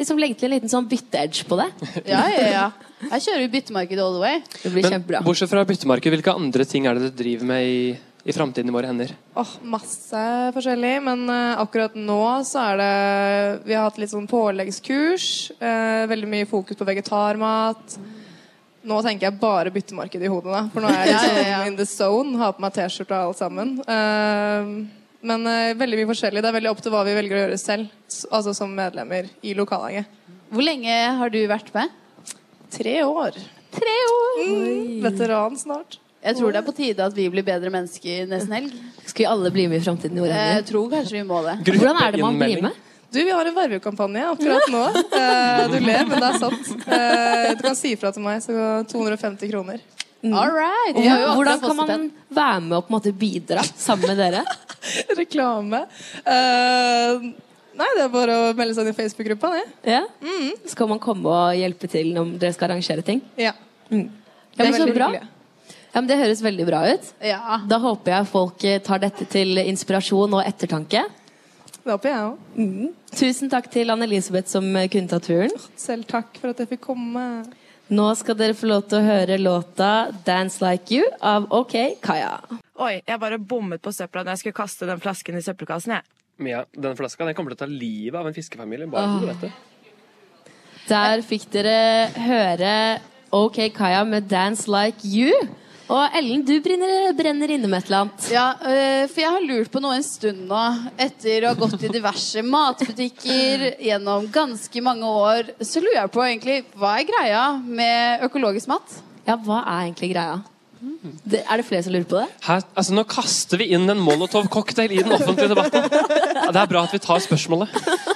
Speaker 2: liksom legg til en liten sånn bytte-edge
Speaker 7: *laughs*
Speaker 2: på det.
Speaker 4: Ja, ja, ja. Her kjører vi byttemarked all the way.
Speaker 2: Det blir
Speaker 3: Men
Speaker 2: kjempebra.
Speaker 3: bortsett fra byttemarked, hvilke andre ting er det dere driver med i, i framtiden i våre hender?
Speaker 7: Åh, Masse forskjellig, men eh, akkurat nå så er det Vi har hatt litt sånn påleggskurs. eh, veldig mye fokus på vegetarmat. Nå tenker jeg bare byttemarked i hodet, da. For nå er jeg liksom
Speaker 4: Ja, ja, ja.
Speaker 7: in the zone. Har på meg T-skjorte og alt sammen. Eh, men eh, veldig mye forskjellig. Det er veldig opp til hva vi velger å gjøre selv. s- Altså som medlemmer i lokallaget.
Speaker 4: Hvor lenge har du vært med?
Speaker 7: Tre år.
Speaker 4: Tre år.
Speaker 7: Mm, veteran snart.
Speaker 4: Jeg tror det er på tide at vi blir bedre mennesker nesten helg.
Speaker 2: Skal vi alle bli med i Framtiden i våre
Speaker 4: Eh, Jeg
Speaker 2: hender?
Speaker 4: tror kanskje vi må det.
Speaker 2: Hvordan er det man
Speaker 3: Gruppeinnmelding.
Speaker 2: blir med?
Speaker 7: Du, vi har en vervekampanje akkurat nå. Eh, du ler, men det er sant. Eh, du kan si ifra til meg, så 250 kroner.
Speaker 4: All right. Mm. Vi har jo
Speaker 2: Hvordan
Speaker 4: akkurat
Speaker 2: kan
Speaker 4: fått
Speaker 2: man
Speaker 4: stipend.
Speaker 2: være med og på en måte bidra sammen med
Speaker 7: *laughs*
Speaker 2: dere?
Speaker 7: Reklame. Eh, nei, det er bare å melde seg inn i Facebook-gruppa, det. Mm.
Speaker 2: Ja? Skal man komme og hjelpe til når dere skal arrangere ting?
Speaker 7: Ja.
Speaker 2: Ja, men
Speaker 7: Det er
Speaker 2: så
Speaker 7: veldig
Speaker 2: bra.
Speaker 7: hyggelig.
Speaker 2: Ja, men det høres veldig bra ut.
Speaker 4: Ja.
Speaker 2: Da håper jeg folk eh, tar dette til inspirasjon og ettertanke.
Speaker 7: Det håper jeg òg.
Speaker 2: Mm. Tusen takk til Anne-Elisabeth som eh, kunne ta turen.
Speaker 7: Selv takk for at jeg fikk komme.
Speaker 2: Nå skal dere få lov til å høre låta 'Dance Like You' av OK Kaya.
Speaker 8: Oi, jeg bare bommet på søpla når jeg skulle kaste den flasken i søppelkassen.
Speaker 4: *laughs*
Speaker 8: Jeg.
Speaker 3: Mia, den flaska den kommer til å ta livet av en fiskefamilie. Bare så du vet det.
Speaker 2: Der fikk dere høre OK Kaya med 'Dance Like You'. Og Ellen, du brenner, brenner inne med et eller annet.
Speaker 4: Ja, øh, for jeg har lurt på noe en stund nå, etter å ha gått i diverse matbutikker gjennom ganske mange år. Så lurer jeg på egentlig, hva er greia med økologisk mat? Mm.
Speaker 2: Ja, hva er egentlig greia? Det, er det flere som lurer på *laughs* det?
Speaker 3: Her, altså, nå kaster vi inn en Molotov-cocktail i den offentlige debatten. Ja, det er bra at vi tar spørsmålet.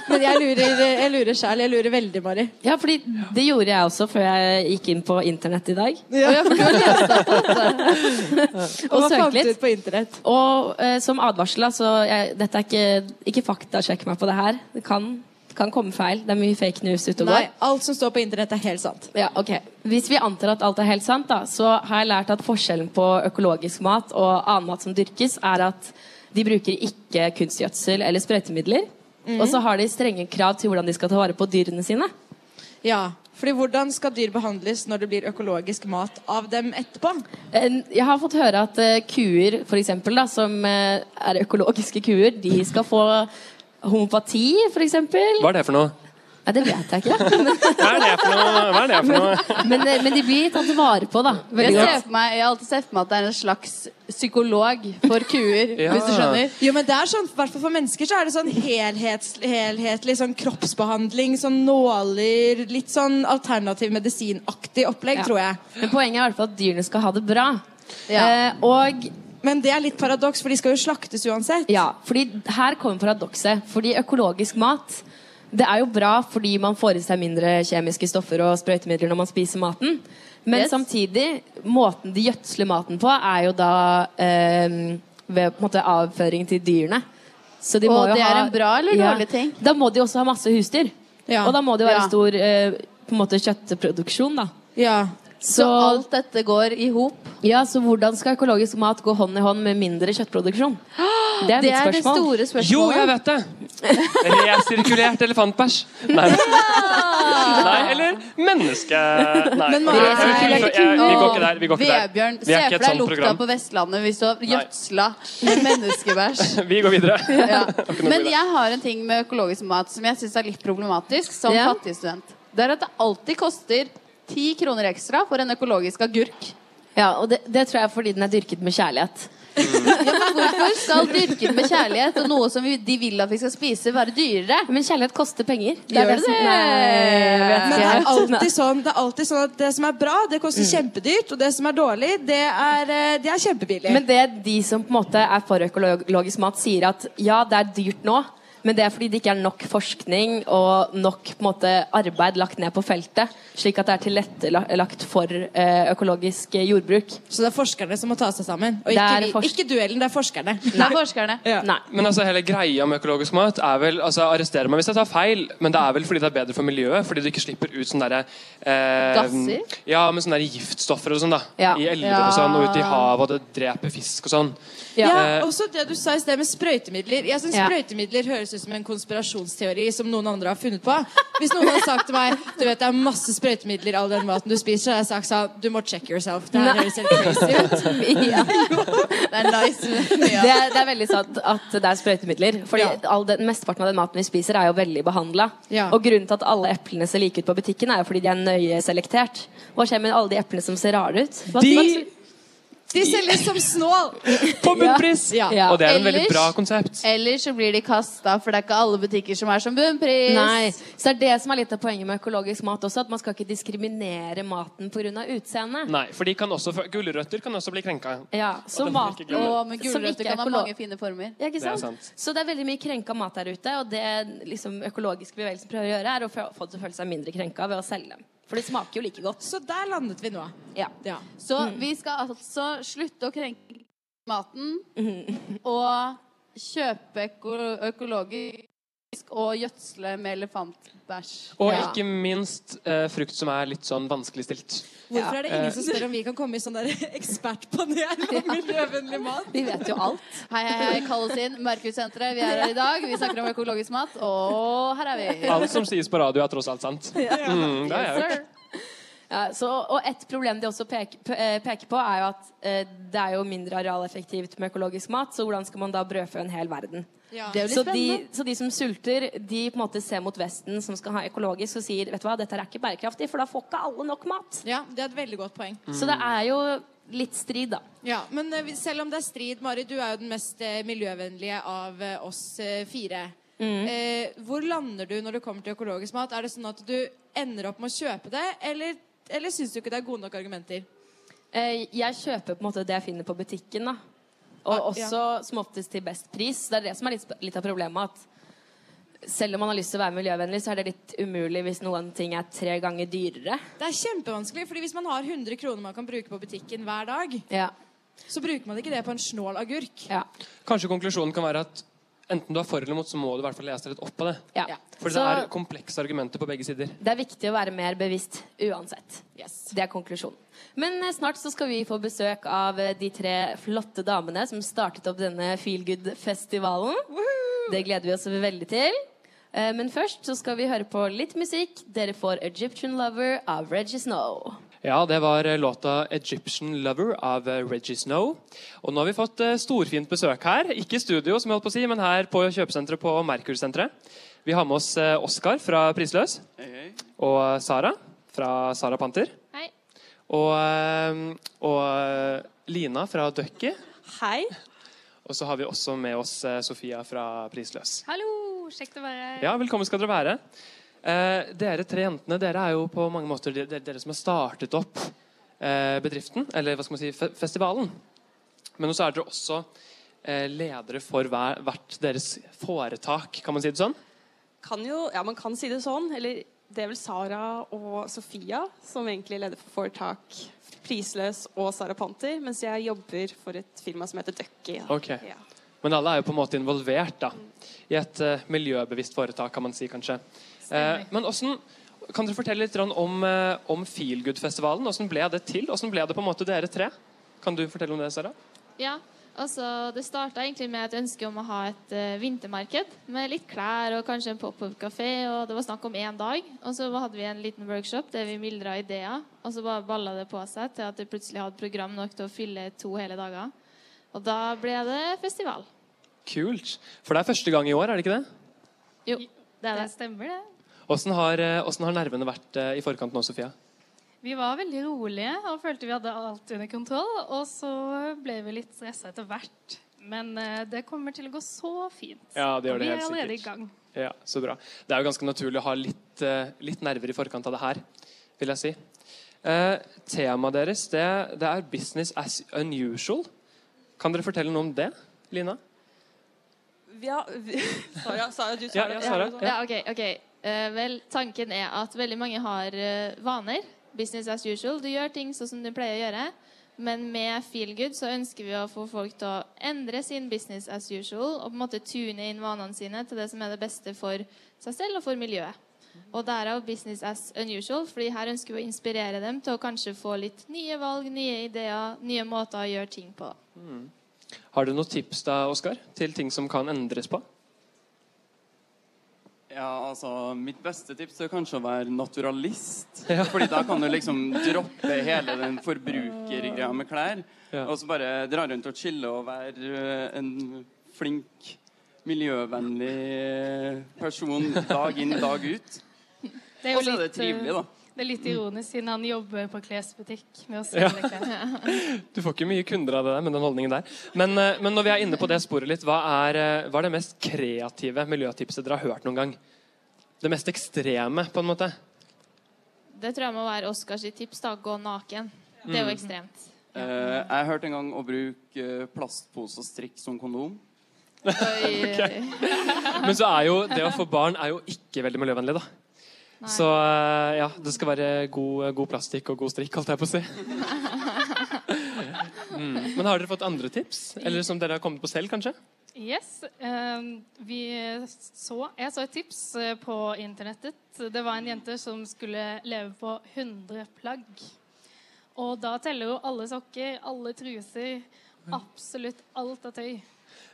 Speaker 6: Men jeg lurer, jeg lurer sjæl. Jeg lurer veldig, Mari.
Speaker 2: Ja, fordi det gjorde jeg også før jeg gikk inn på internett i dag.
Speaker 4: Og jeg får jo lese opp dette.
Speaker 2: Og
Speaker 6: Hva
Speaker 2: søkte
Speaker 6: fant du
Speaker 2: litt.
Speaker 6: ut på internett?
Speaker 2: Og eh, som advarsel, altså jeg, Dette er ikke, ikke fakta, sjekk meg på det her. Det kan, kan komme feil. Det er mye fake news ute og
Speaker 6: Nei,
Speaker 2: går.
Speaker 6: alt som står på internett, er helt sant.
Speaker 2: Ja, ok. Hvis vi antar at alt er helt sant, da, så har jeg lært at forskjellen på økologisk mat og annen mat som dyrkes, er at de bruker ikke kunstgjødsel eller sprøytemidler.
Speaker 6: Mhm.
Speaker 2: Og så har de strenge krav til hvordan de skal ta vare på dyrene sine.
Speaker 6: Ja, fordi hvordan skal dyr behandles når det blir økologisk mat av dem etterpå?
Speaker 2: En- Jeg har fått høre at eh, kuer, for eksempel, da, som eh, er økologiske kuer, de skal få homopati, for eksempel.
Speaker 3: Hva er det for noe?
Speaker 2: Nei, det vet jeg ikke. Men,
Speaker 3: Hva er det for noe? Hva er det for noe?
Speaker 2: *laughs* men, eh, men de blir tatt vare på, da.
Speaker 4: Jeg,
Speaker 2: Veldig
Speaker 4: ser
Speaker 2: godt.
Speaker 4: for meg, jeg har alltid sett for meg at det er en slags psykolog for kuer,
Speaker 3: Ja.
Speaker 4: hvis du skjønner.
Speaker 6: Jo, men det er sånn, i hvert fall for mennesker så er det sånn helhets, helhetlig sånn kroppsbehandling, sånn nåler, litt sånn alternativ medisinaktig opplegg,
Speaker 2: Ja.
Speaker 6: tror jeg.
Speaker 2: Men poenget er i hvert fall at dyrene skal ha det bra.
Speaker 4: Ja.
Speaker 2: Eh, og
Speaker 6: Men det er litt paradoks, for de skal jo slaktes uansett.
Speaker 2: ja, fordi her kommer paradokset. Fordi økologisk mat det er jo bra fordi man får i seg mindre kjemiske stoffer og sprøytemidler når man spiser maten. Men
Speaker 4: Yes.
Speaker 2: samtidig, måten de gjødsler maten på, er jo da eh, ved på en måte avføring til dyrene. Så de
Speaker 4: Og
Speaker 2: må jo
Speaker 4: det er
Speaker 2: ha,
Speaker 4: en bra eller dårlig ting?
Speaker 2: Da må de også ha masse husdyr.
Speaker 6: Ja.
Speaker 2: Og da må det jo være
Speaker 4: Ja.
Speaker 2: stor eh, på en måte kjøttproduksjon, da.
Speaker 6: Ja.
Speaker 4: Så alt dette går i hop.
Speaker 2: Ja, så hvordan skal økologisk mat gå hånd i hånd med mindre kjøttproduksjon? Det er
Speaker 4: Det
Speaker 2: mitt
Speaker 4: er det
Speaker 2: spørsmål.
Speaker 4: store spørsmålet.
Speaker 3: Jo, jeg vet det!
Speaker 4: *laughs*
Speaker 3: Resirkulert elefantbæsj. Nei. Nei, eller menneske... Nei.
Speaker 6: Men
Speaker 3: Ok,
Speaker 6: Mari-
Speaker 3: vi- vi- vi- vi går ikke der. Vi går ikke der.
Speaker 4: Vebjørn,
Speaker 3: Vi
Speaker 4: se
Speaker 3: er ikke
Speaker 4: for
Speaker 3: et
Speaker 4: deg
Speaker 3: sånt
Speaker 4: lukta
Speaker 3: program.
Speaker 4: på Vestlandet hvis du har gjødsla med menneskebæsj.
Speaker 3: *laughs* Vi går videre.
Speaker 4: Ja. Men jeg har en ting med økologisk mat som jeg syns er litt problematisk som
Speaker 2: Ja.
Speaker 4: fattig student. det er at det alltid koster ti kroner ekstra for en økologisk agurk.
Speaker 2: Ja, og det, det tror jeg er fordi den er dyrket med kjærlighet.
Speaker 4: Hvorfor skal dyrket med kjærlighet og noe som vi- de vil at vi skal spise, være dyrere?
Speaker 2: Men kjærlighet koster penger. Det
Speaker 4: Gjør det
Speaker 2: som-
Speaker 4: det?
Speaker 2: Nei, Mm. jeg vet
Speaker 6: Men det
Speaker 2: ikke.
Speaker 6: er alltid sånn, det er alltid sånn at det som er bra, det koster kjempedyrt. Og det som er dårlig, det er, eh, det er kjempebillig.
Speaker 2: Men det de som på en måte er for økologisk mat, sier at ja, det er dyrt nå, men det er fordi det ikke er nok forskning og nok på en måte, arbeid lagt ned på feltet, slik at det er tilrettelagt for eh, økologisk eh, jordbruk.
Speaker 6: Så det er forskerne som må ta seg sammen. *laughs* Og
Speaker 2: Det
Speaker 6: ikke,
Speaker 2: er
Speaker 6: vi-
Speaker 2: forsk-
Speaker 6: ikke duellen, det er forskerne.
Speaker 4: Det er forskerne.
Speaker 6: Ja.
Speaker 2: Nei.
Speaker 3: Men altså, hele greia med økologisk mat er vel altså, Arrester meg hvis jeg tar feil, men det er vel fordi det er bedre for miljøet? Fordi du ikke slipper ut sånne derre eh,
Speaker 4: Gasser?
Speaker 3: Ja, men sånne der giftstoffer og sånn, da.
Speaker 2: Ja.
Speaker 3: I elver og sånn, og ute i havet, og det dreper fisk og sånn.
Speaker 6: Ja,
Speaker 3: Eh,
Speaker 6: Også det du sa i sted med sprøytemidler. Jeg synes
Speaker 2: Ja.
Speaker 6: Sprøytemidler høres ut som en konspirasjonsteori som noen andre har funnet på. Hvis noen hadde sagt til meg Du vet det er masse sprøytemidler i all den maten du spiser, så hadde jeg sagt sånn Du må check yourself. Det her høres helt crazy ut.
Speaker 2: *laughs* Ja.
Speaker 4: Det er
Speaker 2: *laughs*
Speaker 4: nice.
Speaker 2: Det, er, det er veldig sant at det er sprøytemidler. Fordi
Speaker 6: Ja.
Speaker 2: all den, Mesteparten av den maten vi spiser, er jo veldig behandla.
Speaker 6: Ja.
Speaker 2: Og grunnen til at alle eplene ser like ut på butikken, er jo fordi de er nøye selektert. Hva skjer med alle de eplene som ser rare ut? Hva,
Speaker 3: De-
Speaker 6: De selges som snål.
Speaker 3: På bunnpris!
Speaker 6: Ja.
Speaker 2: Ja.
Speaker 3: Og det er en veldig
Speaker 4: Ellers-
Speaker 3: bra konsept.
Speaker 4: Eller så blir de kasta, for det er ikke alle butikker som er som bunnpris.
Speaker 2: Nei. Så det er det som er litt av poenget med økologisk mat også, at man skal ikke diskriminere maten pga. utseendet.
Speaker 3: Nei, for de kan også, gulrøtter kan også bli krenka.
Speaker 2: Ja, så
Speaker 3: den må
Speaker 2: mat
Speaker 3: ikke glemme.
Speaker 4: Og med
Speaker 2: som ikke
Speaker 4: gulrøtter
Speaker 2: er
Speaker 4: kan ha
Speaker 2: økolo-
Speaker 4: mange fine former.
Speaker 2: ja, ikke
Speaker 3: Det er
Speaker 2: sant?
Speaker 3: sant.
Speaker 2: Så det er veldig mye krenka mat der ute, og det liksom, økologiske bevegelsen prøver å gjøre, er å få folk til å føle seg mindre krenka ved å selge dem. For det smaker jo like godt.
Speaker 6: Så der landet vi nå.
Speaker 2: Ja.
Speaker 6: Ja.
Speaker 4: Så vi skal altså slutte å krenke maten Mm-hmm. og kjøpe øko økologisk og gjødsle med elefantbæsj.
Speaker 3: Og
Speaker 2: Ja.
Speaker 3: ikke minst eh, frukt som er litt sånn vanskeligstilt.
Speaker 6: Hvorfor er det ingen
Speaker 2: eh.
Speaker 6: som spør om vi kan komme i sånn der *laughs*
Speaker 2: *laughs*
Speaker 6: ekspertpanel om *laughs* miljøvennlig mat?
Speaker 2: Vi vet jo alt.
Speaker 4: Hei, hei, hei, kall oss Eh, inn. Markussenteret, vi er her i dag. Vi snakker om økologisk mat, og her er vi.
Speaker 3: Eh, Alt som sies på radio, er tross alt sant.
Speaker 2: *laughs*
Speaker 3: Mm, det er jo.
Speaker 2: Ja, så, og et problem de også peker, pe- eh, peker på, er jo at eh, det er jo mindre arealeffektivt med økologisk mat, så hvordan skal man da brødfø en hel verden?
Speaker 4: Det er jo
Speaker 2: Så
Speaker 4: litt spennende.
Speaker 2: de, så de som sulter, de på en måte ser mot Vesten, som skal ha økologisk, og sier vet du hva, dette her er ikke bærekraftig, for da får ikke alle nok mat.
Speaker 6: Ja, det er et veldig godt poeng.
Speaker 2: Mm. Så det er jo litt strid, da.
Speaker 6: Ja, Men eh, vi- selv om det er strid, Mari, du er jo den mest eh, miljøvennlige av eh, oss eh, fire.
Speaker 2: Mm.
Speaker 6: Eh, hvor lander du når det kommer til økologisk mat? Er det sånn at du ender opp med å kjøpe det, eller, eller syns du ikke det er gode nok argumenter?
Speaker 2: Eh, Jeg kjøper på en måte det jeg finner på butikken, da.
Speaker 3: Ah,
Speaker 2: Og
Speaker 6: Ja.
Speaker 2: også som oftest til best pris. Det er det som er litt, litt av problemet. at selv om man har lyst til å være miljøvennlig, så er det litt umulig hvis noen ting er tre ganger dyrere.
Speaker 6: Det er kjempevanskelig, fordi hvis man har 100 kroner man kan bruke på butikken hver dag,
Speaker 2: Ja,
Speaker 6: så bruker man ikke det på en snål agurk.
Speaker 2: ja,
Speaker 3: Kanskje konklusjonen kan være at enten du er for eller mot, så må du i hvert fall lese deg litt opp på det.
Speaker 2: ja.
Speaker 3: For det
Speaker 2: Så
Speaker 3: er komplekse argumenter på begge sider.
Speaker 2: det er viktig å være mer bevisst uansett. Det er konklusjonen. Men eh, snart så skal vi få besøk av eh, de tre flotte damene som startet opp denne Feelgood-festivalen. Det gleder vi oss veldig til. Eh, Men først så skal vi høre på litt musikk. Dere får Egyptian Lover av Reggie Snow.
Speaker 3: Ja, det var eh, låta 'Egyptian Lover' av eh, Reggie Snow. Og nå har vi fått eh, storfint besøk her. Ikke i studio, som jeg holdt på å si, men her på kjøpesenteret på Merkur-senteret. Vi har med oss eh, Oskar fra Prisløs. Og eh, Sara fra Sara Panter.
Speaker 2: Hei.
Speaker 3: Og, eh, og eh, Lina fra Ducky.
Speaker 9: Hei.
Speaker 3: Og så har vi også med oss eh, Sofia fra Prisløs.
Speaker 9: Hallo. Kjekt å være her.
Speaker 3: Ja, velkommen skal dere være. Eh, dere tre jentene, dere er jo på mange måter de- dere, dere som har startet opp eh, bedriften, eller hva skal man si, fe festivalen. Men så er dere også eh, ledere for hver, hvert deres foretak, kan man si det sånn?
Speaker 9: Kan jo, ja, man kan si det sånn. Eller det er vel Sara og Sofia som egentlig leder for foretak Prisløs og Sara Panter, mens jeg jobber for et firma som heter Ducky. da.
Speaker 3: Ok.
Speaker 9: Ja.
Speaker 3: Men alle er jo på en måte involvert da, i et eh, miljøbevisst foretak, kan man si kanskje. Eh, men hvordan, kan dere fortelle litt grann om, uh, om Feelgood-festivalen? Hvordan ble det til? Hvordan ble det på en måte dere tre? Kan du fortelle om det, Sara?
Speaker 10: Ja, altså Det starta egentlig med et ønske om å ha et eh, vintermarked med litt klær og kanskje en pop-up-kafé. og Det var snakk om én dag. Og så hadde vi en liten workshop der vi myldra ideer. Og så bare balla det på seg til at vi plutselig hadde program nok til å fylle to hele dager. Og da ble det festival.
Speaker 3: Kult. For det er første gang i år, er det ikke det?
Speaker 10: Jo, det er det.
Speaker 9: stemmer, det.
Speaker 3: Åssen har, eh, hvordan har nervene vært eh, i forkant nå, Sofia?
Speaker 11: Vi var veldig rolige og følte vi hadde alt under kontroll. Og så ble vi litt stressa etter hvert. Men eh, det kommer til å gå så fint.
Speaker 3: Ja, det gjør
Speaker 11: Og
Speaker 3: det
Speaker 11: vi er
Speaker 3: helt
Speaker 11: allerede
Speaker 3: sikkert.
Speaker 11: i gang.
Speaker 3: Ja, så bra. Det er jo ganske naturlig å ha litt, eh, litt nerver i forkant av det her, vil jeg si. Eh, temaet deres det, det er 'business as unusual'. Kan dere fortelle noe om det, Lina?
Speaker 9: Ja, vi, Sara, Sara, du
Speaker 3: Ja, ja,
Speaker 9: tar det.
Speaker 3: Sara,
Speaker 10: Ja, ok, ok. Eh, vel, tanken er at veldig mange har eh, vaner. Business as usual. Du gjør ting sånn som du pleier å gjøre. Men med Feelgood så ønsker vi å få folk til å endre sin business as usual og på en måte tune inn vanene sine til det som er det beste for seg selv og for miljøet. Og derav business as unusual, fordi her ønsker vi å inspirere dem til å kanskje få litt nye valg, nye ideer, nye måter å gjøre ting på.
Speaker 3: Mm. Har du noen tips da, Oskar, til ting som kan endres på?
Speaker 12: Ja, altså, Mitt beste tips er kanskje å være
Speaker 3: *laughs*
Speaker 12: naturalist. Fordi da kan du liksom droppe hele den forbrukergreia med klær. Og så bare dra rundt og chille og være eh, en flink, miljøvennlig eh, person dag inn, dag ut.
Speaker 11: Det jo
Speaker 12: Og så er
Speaker 11: litt,
Speaker 12: det trivelig, da.
Speaker 11: eh, Det er litt ironisk siden han jobber på klesbutikk med å
Speaker 3: *laughs*
Speaker 11: selge
Speaker 3: Mm. Ja.
Speaker 11: klær.
Speaker 3: Du får ikke mye kunder av det der, med den holdningen der. Men, eh, men når vi er inne på det sporet litt, hva er, eh, hva er det mest kreative miljøtipset dere har hørt noen gang? Det mest ekstreme, på en måte?
Speaker 10: Det tror jeg må være Oskars tips. da, Gå naken. Det er jo
Speaker 12: Mm.
Speaker 3: *laughs*
Speaker 10: ekstremt.
Speaker 12: Eh, jeg hørte en gang å bruke eh, plastpose og strikk som kondom.
Speaker 3: *laughs* Men så er jo det å få barn er jo ikke veldig miljøvennlig, da. Så eh, ja, det skal være god, eh, god plastikk og god strikk, holdt jeg på å si. Mm. Men har dere fått andre tips? Eller som dere har kommet på selv, kanskje?
Speaker 11: Yes. eh, vi så, jeg så et tips eh, på internettet. Det var en jente som skulle leve på 100 plagg. Og da teller jo alle sokker, alle truser, absolutt alt av tøy.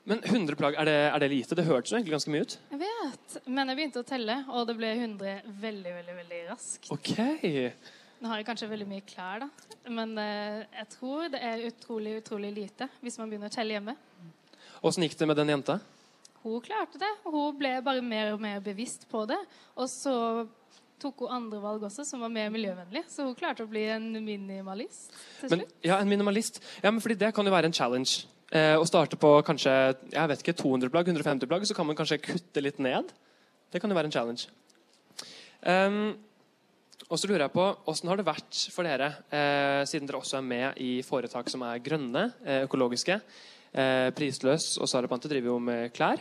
Speaker 3: Men 100 plagg, er det, er det lite? Det hørtes jo egentlig ganske mye ut.
Speaker 11: Jeg vet, men jeg begynte å telle, og det ble 100 veldig, veldig, veldig raskt.
Speaker 3: Ok.
Speaker 11: Nå har jeg kanskje veldig mye klær, da. Men eh, jeg tror det er utrolig, utrolig lite hvis man begynner å telle hjemme.
Speaker 3: Åssen gikk det med den jenta?
Speaker 11: Hun klarte det. Hun ble bare mer og mer bevisst på det. Og så tok hun andre valg også, som var mer miljøvennlig. Så hun klarte å bli en minimalist til
Speaker 3: Men,
Speaker 11: slutt.
Speaker 3: ja, en minimalist. Ja, men fordi det kan jo være en challenge. Eh, å starte på kanskje jeg vet ikke, 200 plagg, 150 plagg, så kan man kanskje kutte litt ned. Det kan jo være en challenge. Ehm, og så lurer jeg på, Hvordan har det vært for dere, eh, siden dere også er med i foretak som er grønne, eh, økologiske? Eh, prisløs og Sara Pante driver jo med klær.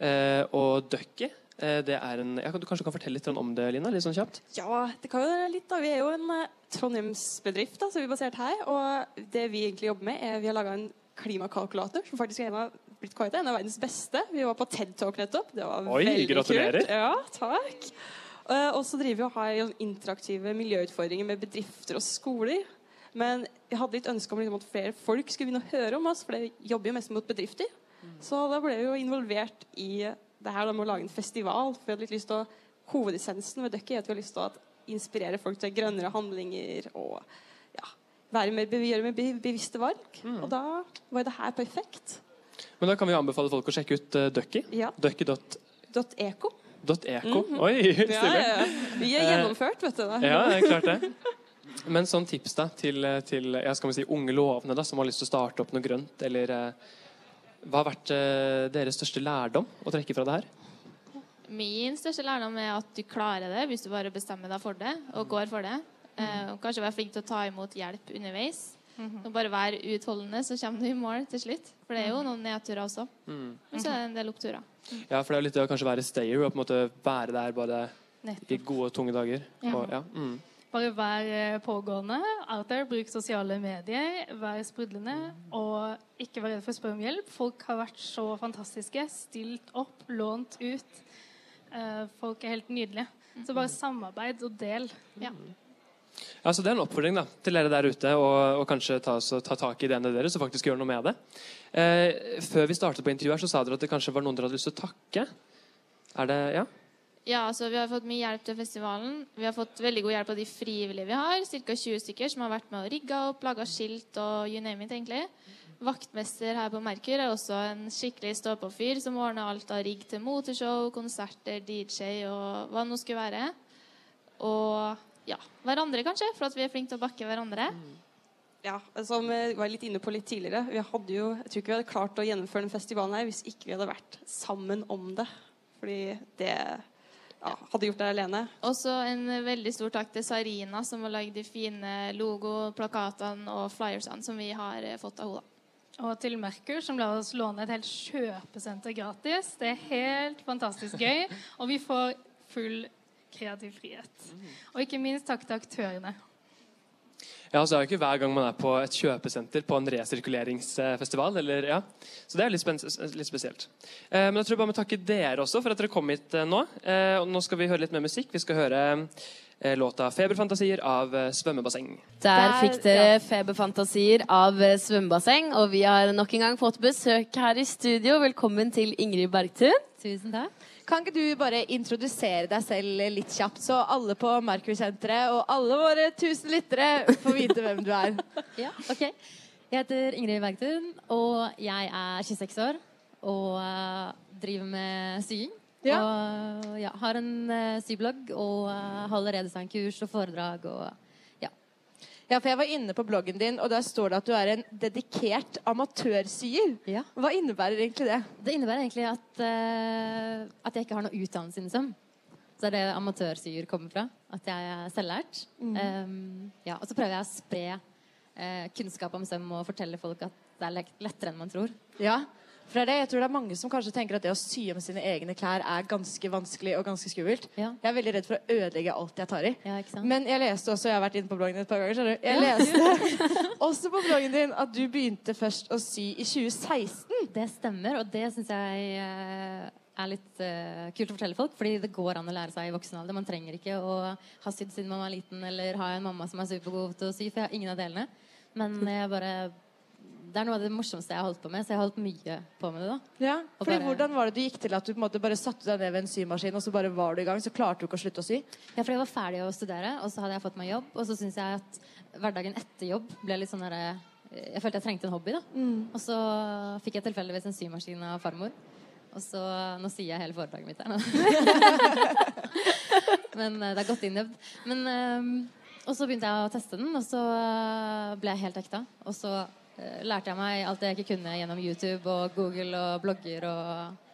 Speaker 3: Eh, og Ducky eh, det er en, ja, Du kanskje kan fortelle litt om det, Lina? litt sånn kjapt?
Speaker 9: Ja, det kan jo være litt da. Vi er jo en eh, Trondheimsbedrift da, som vi er basert her. Og det vi egentlig jobber med, er vi har laga en klimakalkulator som faktisk er en av, blitt kåret til en av verdens beste. Vi var på TED Talk nettopp. Det var
Speaker 3: Oi,
Speaker 9: veldig
Speaker 3: gratulerer.
Speaker 9: kult. Ja, takk. Eh, Og så driver vi og har jo interaktive miljøutfordringer med bedrifter og skoler. Men jeg hadde litt ønske om liksom, at flere folk skulle begynne å høre om oss, for det jobber jo mest mot bedrifter. Så da ble vi jo involvert i det her da med å lage en festival. For vi hadde litt lyst til å Hovedessensen med Ducky er at vi har lyst til å at- inspirere folk til grønnere handlinger og ja, være mer, bev- gjøre mer bev- bevisste valg. Og da var jo det her perfekt.
Speaker 3: Men Da kan vi jo anbefale folk å sjekke ut eh, Ducky.
Speaker 9: Ja.
Speaker 3: Ducky.eko.
Speaker 9: Dot .eco.
Speaker 3: Mm-hmm.
Speaker 9: Mhm.
Speaker 3: Oi, *laughs* stilig.
Speaker 9: Ja, ja, ja. Vi er
Speaker 3: Eh,
Speaker 9: gjennomført, vet du. da.
Speaker 3: Ja, det er klart det. Men sånn tips da, til, til ja, skal vi si, unge lovende da, som har lyst til å starte opp noe grønt, eller eh, hva har vært eh, deres største lærdom å trekke fra det her?
Speaker 10: Min største lærdom er at du klarer det hvis du bare bestemmer deg for det og går for det. Eh, og kanskje være flink til å ta imot hjelp underveis. Og bare være utholdende, så kommer du i mål til slutt. For det er jo noen nedturer også. Men så er det en del oppturer.
Speaker 3: Ja, for det er jo litt det å kanskje være stayer og på en måte være der bare
Speaker 11: Nettopp.
Speaker 3: i gode, tunge dager.
Speaker 11: Ja.
Speaker 3: Og, ja, mm.
Speaker 11: Bare vær eh, pågående. Out there, bruk sosiale medier. Vær sprudlende. Og ikke vær redd for å spørre om hjelp. Folk har vært så fantastiske. Stilt opp, lånt ut. Eh, folk er helt nydelige. Så bare samarbeid og del. Ja.
Speaker 3: Ja, så Det er en oppfordring da, til dere der ute og, og kanskje ta, så, ta tak i ideene deres og faktisk gjøre noe med det. Eh, før vi startet på intervjuet her, så sa dere at det kanskje var noen dere hadde lyst til å takke. Er det, ja?
Speaker 10: Ja, altså Vi har fått mye hjelp til festivalen. Vi har fått veldig god hjelp av de frivillige vi har. Ca. 20 stykker som har vært med og rigga opp, laga skilt og you name it. egentlig. Vaktmester her på Merkur er også en skikkelig stå-på-fyr som ordna alt av rigg til moteshow, konserter, DJ og hva det nå skulle være. Og ja, hverandre kanskje, for at vi er flinke til å bakke hverandre.
Speaker 9: *laughs* Ja, som eh, vi var litt inne på litt tidligere. Vi hadde jo, jeg tror ikke vi hadde klart å gjennomføre den festivalen her hvis ikke vi hadde vært sammen om det. Fordi det ja, hadde gjort det alene.
Speaker 10: Også en veldig stor takk til Sarina, som har lagd de fine logoplakatene og flyersene som vi har eh, fått av henne.
Speaker 11: Og til Merkur, som lar oss låne et helt kjøpesenter gratis. Det er helt fantastisk
Speaker 6: *laughs*
Speaker 11: gøy. Og vi får full kreativ frihet.
Speaker 6: Mm.
Speaker 11: Og ikke minst takk til aktørene.
Speaker 3: Ja, så er det ikke hver gang man er på et kjøpesenter på en resirkuleringsfestival. Eller, ja. Så det er litt, spen- litt spesielt. Eh, men jeg tror bare må takke dere også for at dere kom hit eh, nå. Eh, og nå skal vi høre litt mer musikk. Vi skal høre eh, låta 'Feberfantasier' av eh,
Speaker 13: *laughs*
Speaker 3: Svømmebasseng.
Speaker 14: Der fikk dere feberfantasier av eh, svømmebasseng, og vi har nok en gang fått besøk her i studio. Velkommen til Ingrid Bergtun. Tusen takk.
Speaker 15: Kan ikke du bare introdusere deg selv litt kjapt, så alle på Merkur-senteret og alle våre tusen lyttere får vite hvem du er?
Speaker 16: Ja, ok. Jeg heter Ingrid Bergtun, og jeg er 26 år og eh, driver med sying.
Speaker 15: Ja.
Speaker 16: Og ja, har en eh, syblogg og eh, holder redesangkurs og foredrag og
Speaker 6: Ja, for jeg var inne på bloggen din, og der står det at du er en dedikert amatørsyer. Hva innebærer egentlig det?
Speaker 16: Det innebærer egentlig at, eh, at jeg ikke har noe utdannelse liksom. Så det er det amatørsyer kommer fra. At jeg er selvlært.
Speaker 6: Mm.
Speaker 16: Um, ja, og så prøver jeg å spre eh, kunnskap om søm og fortelle folk at det er lett- lettere enn man tror.
Speaker 6: Ja, for det er det. Jeg tror det er mange som kanskje tenker at det å sy om sine egne klær er ganske vanskelig og ganske skummelt. Jeg er veldig redd for å ødelegge alt jeg tar i. Men jeg leste også, jeg har vært inne på bloggen din et par ganger, skjønner du. Jeg
Speaker 16: *laughs*
Speaker 6: leste også på bloggen din at du begynte først å sy i 2016.
Speaker 16: Det stemmer, og det syns jeg eh, er litt eh, kult å fortelle folk. Fordi det går an å lære seg i voksen alder. Man trenger ikke å ha sydd siden man var liten, eller ha en mamma som er supergod til å sy, for jeg har ingen av delene. Men jeg bare Det er noe av det morsomste jeg har holdt på med, så jeg har holdt mye på med det, da.
Speaker 6: Ja,
Speaker 16: Og
Speaker 6: fordi
Speaker 16: bare-
Speaker 6: Hvordan var det du gikk til at du på en måte bare satte deg ned ved en symaskin og så bare var du i gang? Så klarte du ikke å slutte å sy?
Speaker 16: Ja, for jeg var ferdig å studere, og så hadde jeg fått meg jobb. Og så syns jeg at hverdagen etter jobb ble litt sånn derre Jeg følte jeg trengte en hobby, da.
Speaker 6: Mm.
Speaker 16: Og så fikk jeg tilfeldigvis en symaskin av farmor. Og så Nå sier jeg hele foredraget mitt her. *laughs* Men eh, det er godt innøvd. Men eh, Og så begynte jeg å teste den, og så eh, ble jeg helt hekta. Og så eh, lærte jeg meg alt det jeg ikke kunne gjennom YouTube og Google og blogger og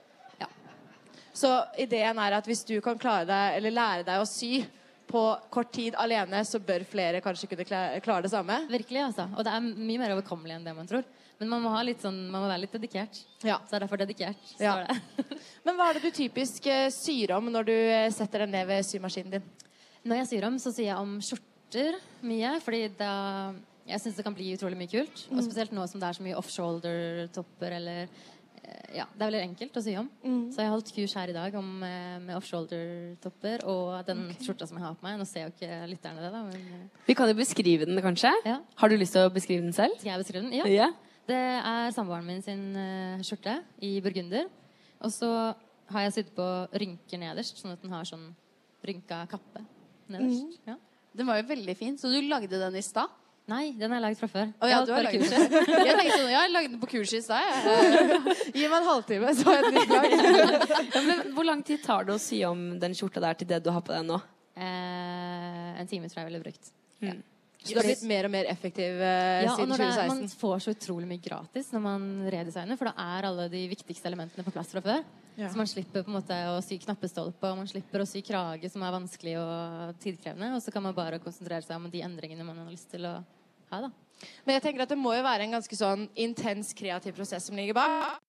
Speaker 6: Så ideen er at hvis du kan klare deg, eller lære deg å sy på kort tid alene, så bør flere kanskje kunne kla- klare det samme.
Speaker 16: Virkelig, altså. Og det er mye mer overkommelig enn det man tror. Men man må, ha litt sånn, man må være litt dedikert. Så det er derfor dedikert.
Speaker 6: Ja.
Speaker 16: står det. *laughs*
Speaker 6: Men hva er det du typisk eh, syr om når du eh, setter deg ned ved symaskinen din?
Speaker 16: Når jeg syr om, så sier jeg om skjorter mye, fordi da Jeg syns det kan bli utrolig mye kult. Og
Speaker 6: Mm.
Speaker 16: spesielt nå som det er så mye offshoulder-topper eller eh, Ja, det er veldig enkelt å sy om.
Speaker 6: Mm.
Speaker 16: Så jeg har holdt kurs her i dag om, eh, med offshoulder-topper og den
Speaker 14: Ok.
Speaker 16: skjorta som jeg har på meg. Nå ser jo ikke lytterne det, da, men eh,
Speaker 14: Vi kan jo beskrive den, kanskje. Har du lyst til å beskrive den selv?
Speaker 16: Skal jeg beskrive den? Ja.
Speaker 14: Ja.
Speaker 16: Det er samboeren min sin eh, skjorte i burgunder. Og så har jeg sydd på rynker nederst, sånn at den har sånn rynka kappe nederst. Ja.
Speaker 4: Mm. Den var jo veldig fin. Så du lagde den i stad?
Speaker 16: Nei, den har jeg lagd fra før.
Speaker 4: Å, ja,
Speaker 16: Jeg holdt
Speaker 4: du har
Speaker 16: bare
Speaker 4: laget
Speaker 16: kurset.
Speaker 4: den. *laughs* Jeg tenkte sånn, ja, jeg lagde den på kurset i stad. jeg.
Speaker 6: Gi meg en halvtime, så har jeg et nytt lag.
Speaker 14: *laughs* Ja, men hvor lang tid tar det å sy om den skjorta der til det du har på deg nå? Mm.
Speaker 16: Eh, en time tror jeg jeg ville brukt. Ja.
Speaker 6: Så du har blitt mer og mer effektiv eh,
Speaker 16: Ja, og
Speaker 6: siden
Speaker 16: når det er, man
Speaker 6: 2016.
Speaker 16: får så utrolig mye gratis når man redesigner, for da er alle de viktigste elementene på plass fra før.
Speaker 6: Ja.
Speaker 16: Så man slipper på en måte å sy knappestolpe, og man slipper å sy krage, som er vanskelig og tidkrevende. Og så kan man bare konsentrere seg om de endringene man har lyst til å ha, da.
Speaker 6: Men jeg tenker at det må jo være en ganske sånn intens kreativ prosess som ligger bak.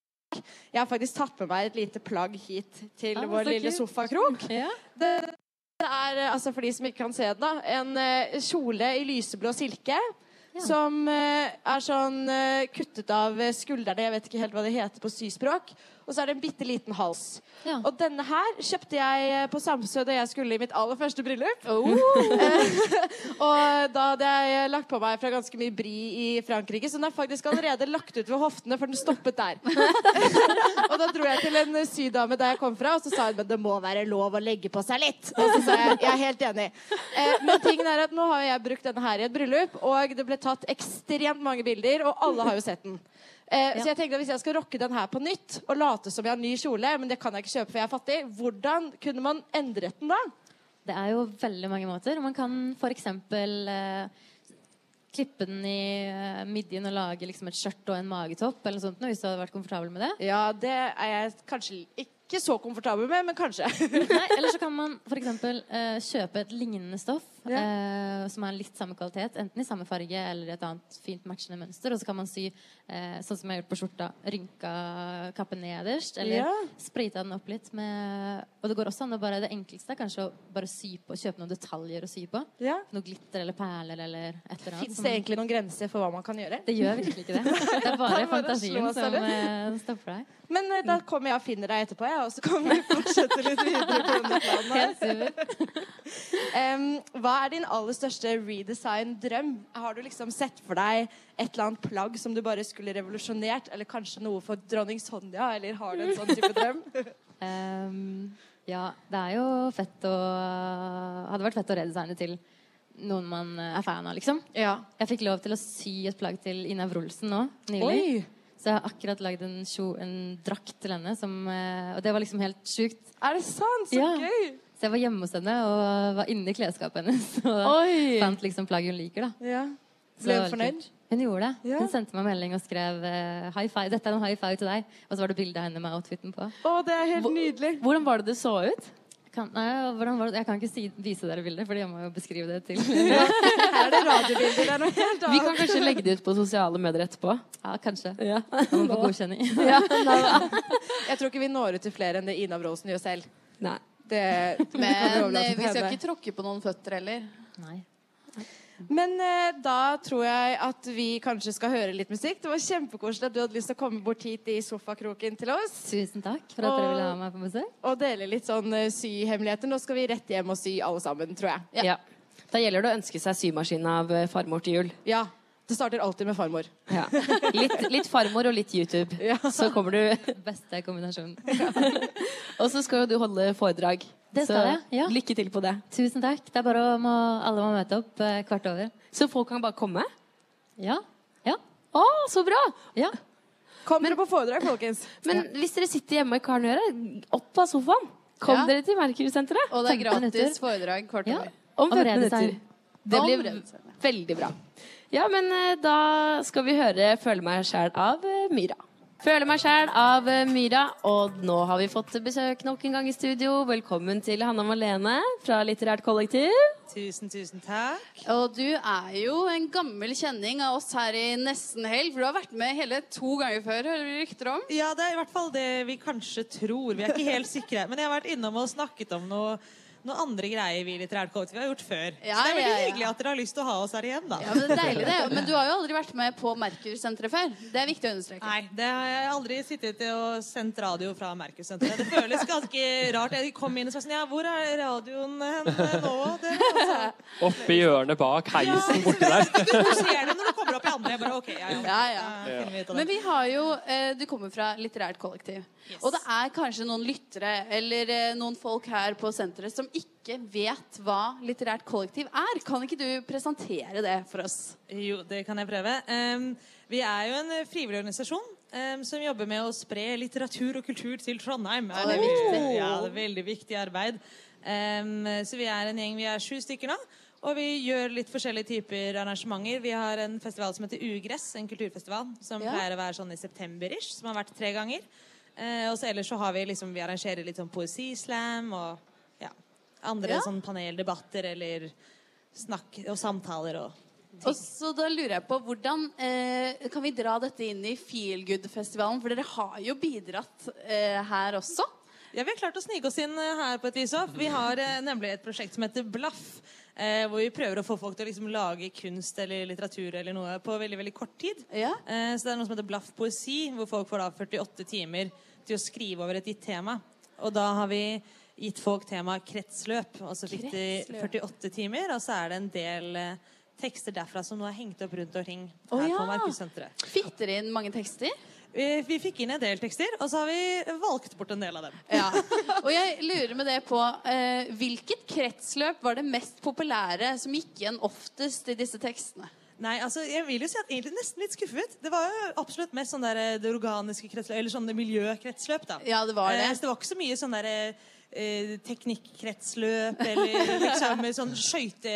Speaker 6: Jeg har faktisk tatt med meg et lite plagg hit til
Speaker 15: Ah,
Speaker 6: vår
Speaker 15: så
Speaker 6: lille
Speaker 15: kult.
Speaker 6: sofakrok. Det, det er, eh, altså for de som ikke kan se det, da, en eh, kjole i lyseblå silke. Som eh, er sånn eh, kuttet av eh, skuldrene, jeg vet ikke helt hva det heter på syspråk. Og så er det en bitte liten hals. Og denne her kjøpte jeg eh, på Samsø da jeg skulle i mitt aller første bryllup.
Speaker 15: Oh. *laughs*
Speaker 6: *laughs* Eh, Og da hadde jeg lagt på meg fra ganske mye bri i Frankrike, så den er faktisk allerede lagt ut ved hoftene, for den stoppet der. *laughs* og da dro jeg til en sydame der jeg kom fra, og så sa hun men det må være lov å legge på seg litt. Og så sa jeg jeg er helt enig. Eh, men tingen er at nå har jeg brukt denne her i et bryllup, og det ble tatt ekstremt mange bilder, og alle har jo sett den. Eh, Så jeg tenkte at Hvis jeg skal rocke den her på nytt og late som jeg har ny kjole, men det kan jeg ikke kjøpe for jeg er fattig, hvordan kunne man endret den da?
Speaker 16: Det er jo veldig mange måter. Man kan f.eks. Eh, klippe den i eh, midjen og lage liksom, et skjørt og en magetopp eller noe sånt, nå, hvis du hadde vært komfortabel med det.
Speaker 6: Ja, det er jeg kanskje ikke så komfortabel med, men kanskje. *laughs*
Speaker 16: Nei, eller så kan man f.eks. Eh, kjøpe et lignende stoff eh, som er litt samme kvalitet, enten i samme farge eller et annet fint matchende mønster. Og så kan man sy eh, sånn som jeg har gjort på skjorta, rynka kappen nederst, eller
Speaker 6: Ja.
Speaker 16: sprita den opp litt med Og det går også an å bare Det enkleste er kanskje å bare sy på, kjøpe noen detaljer å sy på.
Speaker 6: Ja.
Speaker 16: Noe glitter eller perler eller et eller annet.
Speaker 6: Fins
Speaker 16: som-
Speaker 6: det egentlig noen grenser for hva man kan gjøre?
Speaker 16: Det gjør virkelig
Speaker 6: *laughs*
Speaker 16: ikke det. Det er
Speaker 6: Det
Speaker 16: bare
Speaker 6: er bare å slå seg
Speaker 16: fantasien som
Speaker 6: løs.
Speaker 16: eh, stopper deg.
Speaker 6: Men eh, da kommer jeg og finner deg etterpå, jeg, og så kan vi fortsette litt videre på denne planen.
Speaker 16: Helt
Speaker 6: *laughs* Em, hva er din aller største redesign-drøm? Har du liksom sett for deg et eller annet plagg som du bare skulle revolusjonert, eller kanskje noe for dronning Sonja, eller har du en sånn type drøm?
Speaker 16: Ehm, ja, det er jo fett å Hadde vært fett å redesigne til noen man er fan av, liksom. Jeg fikk lov til å sy et plagg til Ina Wroldsen nå nylig.
Speaker 6: Oi!
Speaker 16: Så jeg har akkurat lagd en, kjo- en drakt til henne, som, eh, og det var liksom helt sjukt.
Speaker 6: Er det sant? Så gøy!
Speaker 16: Så jeg var hjemme hos henne og var inni klesskapet hennes og
Speaker 6: Oi!
Speaker 16: fant liksom plagg hun liker. da
Speaker 6: Ja.
Speaker 16: så
Speaker 6: Ble du
Speaker 16: det var veldig
Speaker 6: fornøyd?
Speaker 16: kult. Hun gjorde det.
Speaker 6: Ja.
Speaker 16: Hun sendte meg melding og skrev eh, high five. Dette er en high five til deg. Og så var det bilde av henne med outfiten på.
Speaker 6: Å, det er helt nydelig.
Speaker 16: Hvordan var det det så ut? Kan, nei, hvordan var det? Jeg kan ikke si, vise dere bildet, Fordi jeg må jo beskrive det
Speaker 6: *laughs*
Speaker 16: til ja,
Speaker 6: Er det radiobilder? Det er noe helt
Speaker 14: Vi kan kanskje legge det ut på sosiale medier etterpå.
Speaker 16: kanskje.
Speaker 14: Ja.
Speaker 16: Man får godkjenning.
Speaker 14: *laughs*
Speaker 6: Ja, jeg tror ikke vi når ut til flere enn det Ina Wroldsen gjør selv.
Speaker 14: Nei.
Speaker 6: Det, det kan vi
Speaker 4: Men eh,
Speaker 6: overlate til
Speaker 4: vi skal
Speaker 6: henne.
Speaker 4: ikke tråkke på noen føtter heller.
Speaker 6: Men eh, da tror jeg at vi kanskje skal høre litt musikk. Det var kjempekoselig at du hadde lyst til å komme bort hit i sofakroken til oss.
Speaker 16: Tusen takk for at dere ville ha
Speaker 6: Og-
Speaker 16: meg på besøk.
Speaker 6: Og dele litt sånn eh, syhemmeligheter. Nå skal vi rett hjem og sy alle sammen, tror jeg.
Speaker 14: Ja. Da gjelder det å ønske seg symaskin av eh, farmor til jul.
Speaker 6: Ja, Det starter alltid med farmor.
Speaker 14: Ja. Litt, litt farmor og litt YouTube. Så kommer du *laughs*
Speaker 16: Beste kombinasjonen.
Speaker 14: Og så skal jo du holde foredrag.
Speaker 16: Det
Speaker 14: så
Speaker 16: skal jeg, ja.
Speaker 14: lykke til på det.
Speaker 16: Tusen takk. Det er bare å må, alle må møte opp eh, kvart over.
Speaker 14: Så folk kan bare komme?
Speaker 16: Ja. ja.
Speaker 14: Å, så bra!
Speaker 16: Ja.
Speaker 6: Kom dere på foredrag, folkens.
Speaker 14: *laughs* Men hvis dere sitter hjemme i Karnøyret, opp av sofaen. Kom
Speaker 4: Ja.
Speaker 14: dere til Merkursenteret.
Speaker 4: Og det er
Speaker 14: 15 minutter.
Speaker 4: gratis foredrag kvart
Speaker 14: Ja.
Speaker 4: over.
Speaker 14: Om
Speaker 4: Om
Speaker 14: 15
Speaker 4: redesign.
Speaker 14: minutter. Det
Speaker 4: Om
Speaker 14: blir
Speaker 4: redesign,
Speaker 14: veldig bra. Ja, men eh, da skal vi høre 'Føle meg sjæl' av eh, Myra. Føle meg sjæl av eh, Myra, og nå har vi fått besøk nok en gang i studio. Velkommen til Hanna Malene fra Litterært kollektiv.
Speaker 13: Tusen, tusen takk.
Speaker 4: Og du er jo en gammel kjenning av oss her i Nesten Helg, for du har vært med hele to ganger før, hører vi rykter om.
Speaker 13: Ja, det er i hvert fall det vi kanskje tror. Vi er ikke helt sikre. Men jeg har vært innom og snakket om noe, noe andre greier vi i litterært kollektiv har gjort før.
Speaker 4: Ja,
Speaker 13: Så det er veldig
Speaker 4: ja, ja.
Speaker 13: hyggelig at dere har lyst til å ha oss her igjen, da.
Speaker 4: Ja, men det er deilig det. Men du har jo aldri vært med på Merkur-senteret før. Det er viktig å understreke.
Speaker 13: Nei, det har jeg aldri sittet og sendt radio fra Merkussenteret. Det føles ganske rart. Jeg kom inn og sa sånn Ja, hvor er radioen hen nå? Det, altså,
Speaker 4: *laughs*
Speaker 3: Oppi hjørnet bak heisen borti der.
Speaker 13: hvor skjer det når du kommer opp i andre? Jeg bare, ok, ja, ja. Da finner vi ut av det.
Speaker 4: Men vi har jo eh, Du kommer fra litterært kollektiv. Og det er kanskje noen lyttere eller eh, noen folk her på senteret som ikke vet hva litterært kollektiv er. Kan ikke du presentere det for oss?
Speaker 13: Jo, det kan jeg prøve. Ehm, vi er jo en eh, frivillig organisasjon ehm, som jobber med å spre litteratur og kultur til Trondheim.
Speaker 4: Å, det er viktig.
Speaker 13: Ja, det er veldig viktig arbeid. Ehm, så vi er en gjeng, vi er sju stykker nå. Og vi gjør litt forskjellige typer arrangementer. Vi har en festival som heter Ugress, en kulturfestival som
Speaker 17: Ja.
Speaker 13: pleier å være sånn i september-ish, som har vært tre ganger. Eh, og så ellers så har vi liksom, vi arrangerer litt sånn poesislam og ja, andre
Speaker 4: Ja.
Speaker 13: sånn paneldebatter eller snakk og samtaler og
Speaker 4: Og så da lurer jeg på hvordan eh, Kan vi dra dette inn i Feelgood-festivalen? For dere har jo bidratt eh, her også.
Speaker 13: Ja, Vi har klart å snike oss inn eh, her på et vis òg. Vi har eh, nemlig et prosjekt som heter Blaff. Eh, hvor vi prøver å få folk til å liksom lage kunst eller litteratur eller noe på veldig veldig kort tid. Eh, så det er noe som heter Blaff poesi, hvor folk får da 48 timer til å skrive over et gitt tema. Og da har vi gitt folk temaet kretsløp. Og så fikk de
Speaker 17: Kretsløp.
Speaker 13: 48 timer, og så er det en del eh, tekster derfra som nå er hengt opp rundt omkring her
Speaker 4: Å, ja.
Speaker 13: på Markussenteret.
Speaker 4: Fikk dere inn mange tekster?
Speaker 13: Vi, vi fikk inn en del tekster, og så har vi valgt bort en del av dem.
Speaker 4: *laughs* Og jeg lurer med det på eh, hvilket kretsløp var det mest populære som gikk igjen oftest i disse tekstene?
Speaker 13: Nei, altså, jeg vil jo si at egentlig nesten litt skuffet. Det var jo absolutt mest sånn der, eh, det organiske kretsløp, eller sånn det miljøkretsløp, da.
Speaker 4: Ja, det var det.
Speaker 13: Eh, Så det var ikke så mye sånn der eh, teknikkretsløp, eller liksom sånn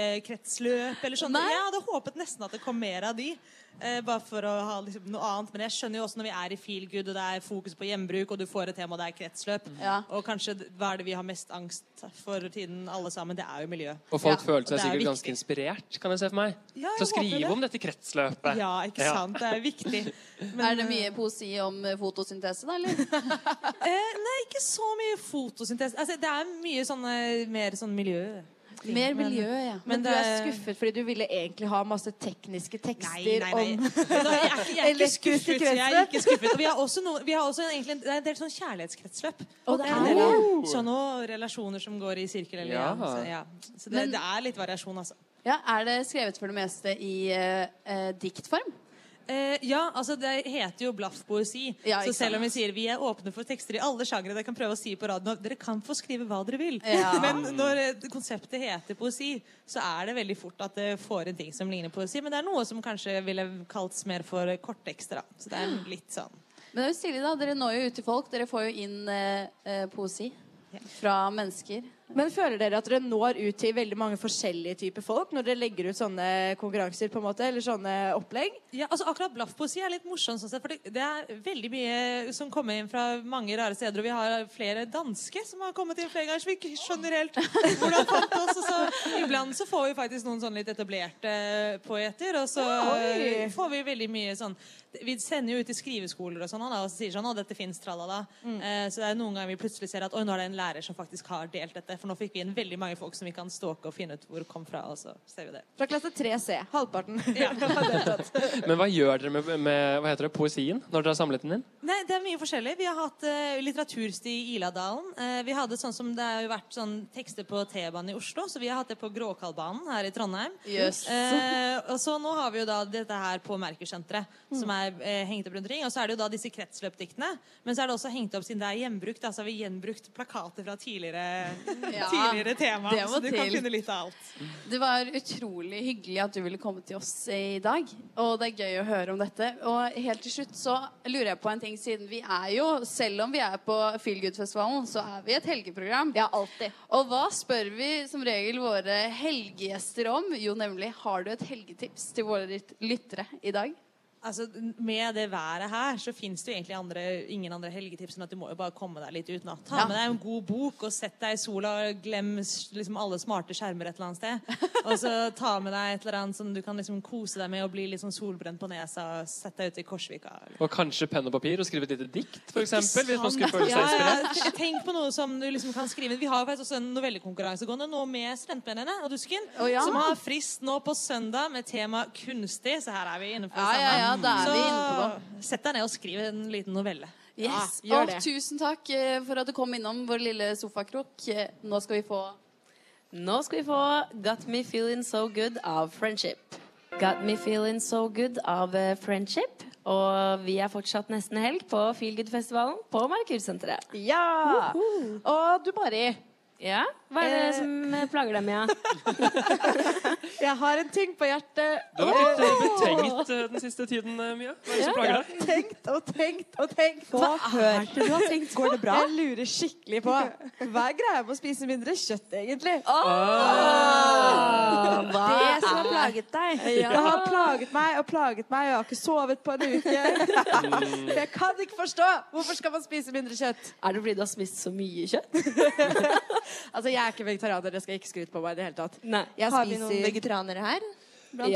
Speaker 13: skøytekretsløp, eller sånn. Jeg hadde håpet nesten at det kom mer av de. eh, bare for å ha liksom, noe annet. Men jeg skjønner jo også når vi er i Feelgood, og det er fokus på gjenbruk, og du får et tema, og det er kretsløp.
Speaker 4: Mm.
Speaker 13: Og kanskje d- hva er det vi har mest angst for tiden, alle sammen? Det er jo miljø.
Speaker 3: Og folk
Speaker 13: Ja.
Speaker 3: følte
Speaker 13: Og det er
Speaker 3: seg sikkert
Speaker 13: viktig.
Speaker 3: ganske inspirert, kan jeg se for meg.
Speaker 13: Ja, jeg
Speaker 3: til å
Speaker 13: håper
Speaker 3: skrive
Speaker 13: det.
Speaker 3: om dette kretsløpet.
Speaker 13: Ja, ikke
Speaker 3: Ja.
Speaker 13: sant? Det er viktig.
Speaker 4: er det mye poesi om eh, fotosyntese,
Speaker 13: *laughs*
Speaker 4: da, eller?
Speaker 13: Eh, nei, ikke så mye fotosyntese. Altså, det er mye sånn eh, mer sånn miljø.
Speaker 15: Mer miljø, ja. Men,
Speaker 13: Men
Speaker 15: du
Speaker 13: det-
Speaker 15: er skuffet fordi du ville egentlig ha masse tekniske tekster
Speaker 13: nei,
Speaker 6: *laughs*
Speaker 13: nei.
Speaker 15: om
Speaker 13: Jeg er ikke, jeg er ikke
Speaker 15: elektriske
Speaker 13: skuffet. Jeg er
Speaker 15: kretsløp.
Speaker 13: ikke skuffet. Og vi har også, noe, vi har også egentlig en, det er en del sånn kjærlighetskretsløp.
Speaker 15: Å,
Speaker 13: Og det er en
Speaker 15: det er
Speaker 13: del av
Speaker 15: det.
Speaker 13: sånne relasjoner som går i sirkel eller
Speaker 15: Ja.
Speaker 13: igjen. Så, ja. så det,
Speaker 4: Men-
Speaker 13: det er litt variasjon, altså.
Speaker 4: Ja, Er det skrevet for det meste i eh, eh, diktform?
Speaker 13: Eh, ja, altså det heter jo blaffpoesi.
Speaker 4: Ja,
Speaker 13: så
Speaker 4: ikke sant.
Speaker 13: selv om vi sier vi er åpne for tekster i alle sjangre, dere kan prøve å si på radioen at dere kan få skrive hva dere vil.
Speaker 4: Ja.
Speaker 13: Men når eh, konseptet heter poesi, så er det veldig fort at det får en ting som ligner poesi. Men det er noe som kanskje ville kaltes mer for korttekster, da. Så det er
Speaker 4: *gasps*
Speaker 13: litt sånn.
Speaker 4: Men det er jo stilig, da. Dere når jo ut til folk. Dere får jo inn eh, eh, poesi fra mennesker.
Speaker 15: Men føler dere at dere når ut til veldig mange forskjellige typer folk når dere legger ut sånne konkurranser på en måte, eller sånne opplegg?
Speaker 13: Ja, altså akkurat Blaffpoesi er litt morsom, sånn sett, for det, det er veldig mye som kommer inn fra mange rare steder. Og vi har flere danske som har kommet inn flere ganger, så vi ikke skjønner helt hvordan fant oss. Og så, iblant så får vi faktisk noen sånn litt etablerte poeter, og så
Speaker 15: Oi.
Speaker 13: får vi veldig mye sånn Vi sender jo ut til skriveskoler og sånn, og da, og så sier sånn Å, dette fins, tralala.
Speaker 15: Mm.
Speaker 13: Eh, så det er noen ganger vi plutselig ser at Oi, nå er det en lærer som faktisk har delt dette. For nå fikk vi inn veldig mange folk som vi kan stalke og finne ut hvor kom fra, og så ser vi det.
Speaker 15: Fra klasse 3C. Halvparten.
Speaker 3: *laughs*
Speaker 6: *laughs*
Speaker 3: Men hva gjør dere med, med hva heter det, poesien når dere har samlet den inn?
Speaker 13: Nei, det er mye forskjellig. Vi har hatt eh, litteratursti i Iladalen. Eh, vi hadde sånn som Det har jo vært sånn tekster på T-banen i Oslo, så vi har hatt det på Gråkallbanen her i Trondheim.
Speaker 4: Jøss.
Speaker 13: Eh, og så nå har vi jo da dette her på Merkursenteret, som er eh, hengt opp rundt omkring. Og så er det jo da disse kretsløpdiktene. Men så er det også hengt opp siden det er gjenbrukt. Da, så har vi gjenbrukt plakater fra tidligere,
Speaker 4: Ja,
Speaker 13: tidligere tema.
Speaker 4: det må
Speaker 13: Så du kan
Speaker 4: til.
Speaker 13: finne litt av alt.
Speaker 4: Det var utrolig hyggelig at du ville komme til oss i dag. Og det er gøy å høre om dette. Og helt til slutt så lurer jeg på en ting, siden vi er jo, selv om vi er på Feelgood-festivalen, så er vi et helgeprogram.
Speaker 15: Ja, alltid.
Speaker 4: Og hva spør vi som regel våre helgegjester om? Jo, nemlig har du et helgetips til våre lyt- lyttere i dag?
Speaker 13: Altså, Med det været her så fins det jo egentlig andre, ingen andre helgetips enn at du må jo bare komme deg litt utenat. Ta
Speaker 4: Ja.
Speaker 13: med deg en god bok og sett deg i sola og glem s- liksom alle smarte skjermer et eller annet sted. Og så ta med deg et eller annet som du kan liksom kose deg med og bli litt sånn solbrent på nesa og sett deg ute i Korsvika.
Speaker 3: Og kanskje penn og papir og skrive et lite dikt, for eksempel, hvis man skulle
Speaker 13: Sant.
Speaker 3: føle seg inspirert?
Speaker 13: Ja, ja. Tenk på noe som du liksom kan skrive. Vi har jo faktisk også en novellekonkurranse gående nå med Studentmennene og Dusken,
Speaker 4: Å, ja.
Speaker 13: som har frist nå på søndag med tema kunstig. Så her er vi innenfor
Speaker 4: Ja, ja, ja, da er
Speaker 13: Så
Speaker 4: vi inne
Speaker 13: sett deg ned og skriv en liten novelle.
Speaker 4: Yes.
Speaker 13: Ja, gjør
Speaker 4: og
Speaker 13: det.
Speaker 4: tusen takk eh, for at du kom innom vår lille sofakrok. Eh, Nå skal vi få
Speaker 2: Nå skal vi få Got Me Feeling So Good av Friendship. Got Me Feeling So Good av eh, Friendship. Og vi er fortsatt nesten helg på Feelgood-festivalen på Merkursenteret.
Speaker 15: Ja! Og du, Mari.
Speaker 2: Ja? Hva er det
Speaker 15: Eh.
Speaker 2: som eh, plager deg, Mia?
Speaker 15: *laughs* Jeg har en ting på hjertet.
Speaker 3: Du har blitt eh, betenkt eh, den siste tiden, eh, Mia. Hva er det som plager deg?
Speaker 15: Tenkt og tenkt og tenkt. Hva
Speaker 2: er det du har tenkt på?
Speaker 15: Går det bra? Jeg lurer skikkelig på hva er greia med å spise mindre kjøtt, egentlig?
Speaker 3: Ah.
Speaker 2: hva
Speaker 15: det som har
Speaker 2: er-
Speaker 15: plaget deg.
Speaker 2: Ja.
Speaker 15: Det har plaget meg og plaget meg, og jeg har ikke sovet på en
Speaker 2: *laughs*
Speaker 15: uke.
Speaker 2: Mm.
Speaker 15: Jeg kan ikke forstå! Hvorfor skal man spise mindre kjøtt?
Speaker 2: Er det fordi du har spist så mye kjøtt?
Speaker 15: *laughs* Altså, Jeg er ikke vegetarianer, det skal jeg ikke skryte på meg i det hele tatt.
Speaker 2: Nei.
Speaker 15: Jeg
Speaker 2: Har vi noen
Speaker 15: vegetarianere her?
Speaker 2: Ja.
Speaker 3: Jeg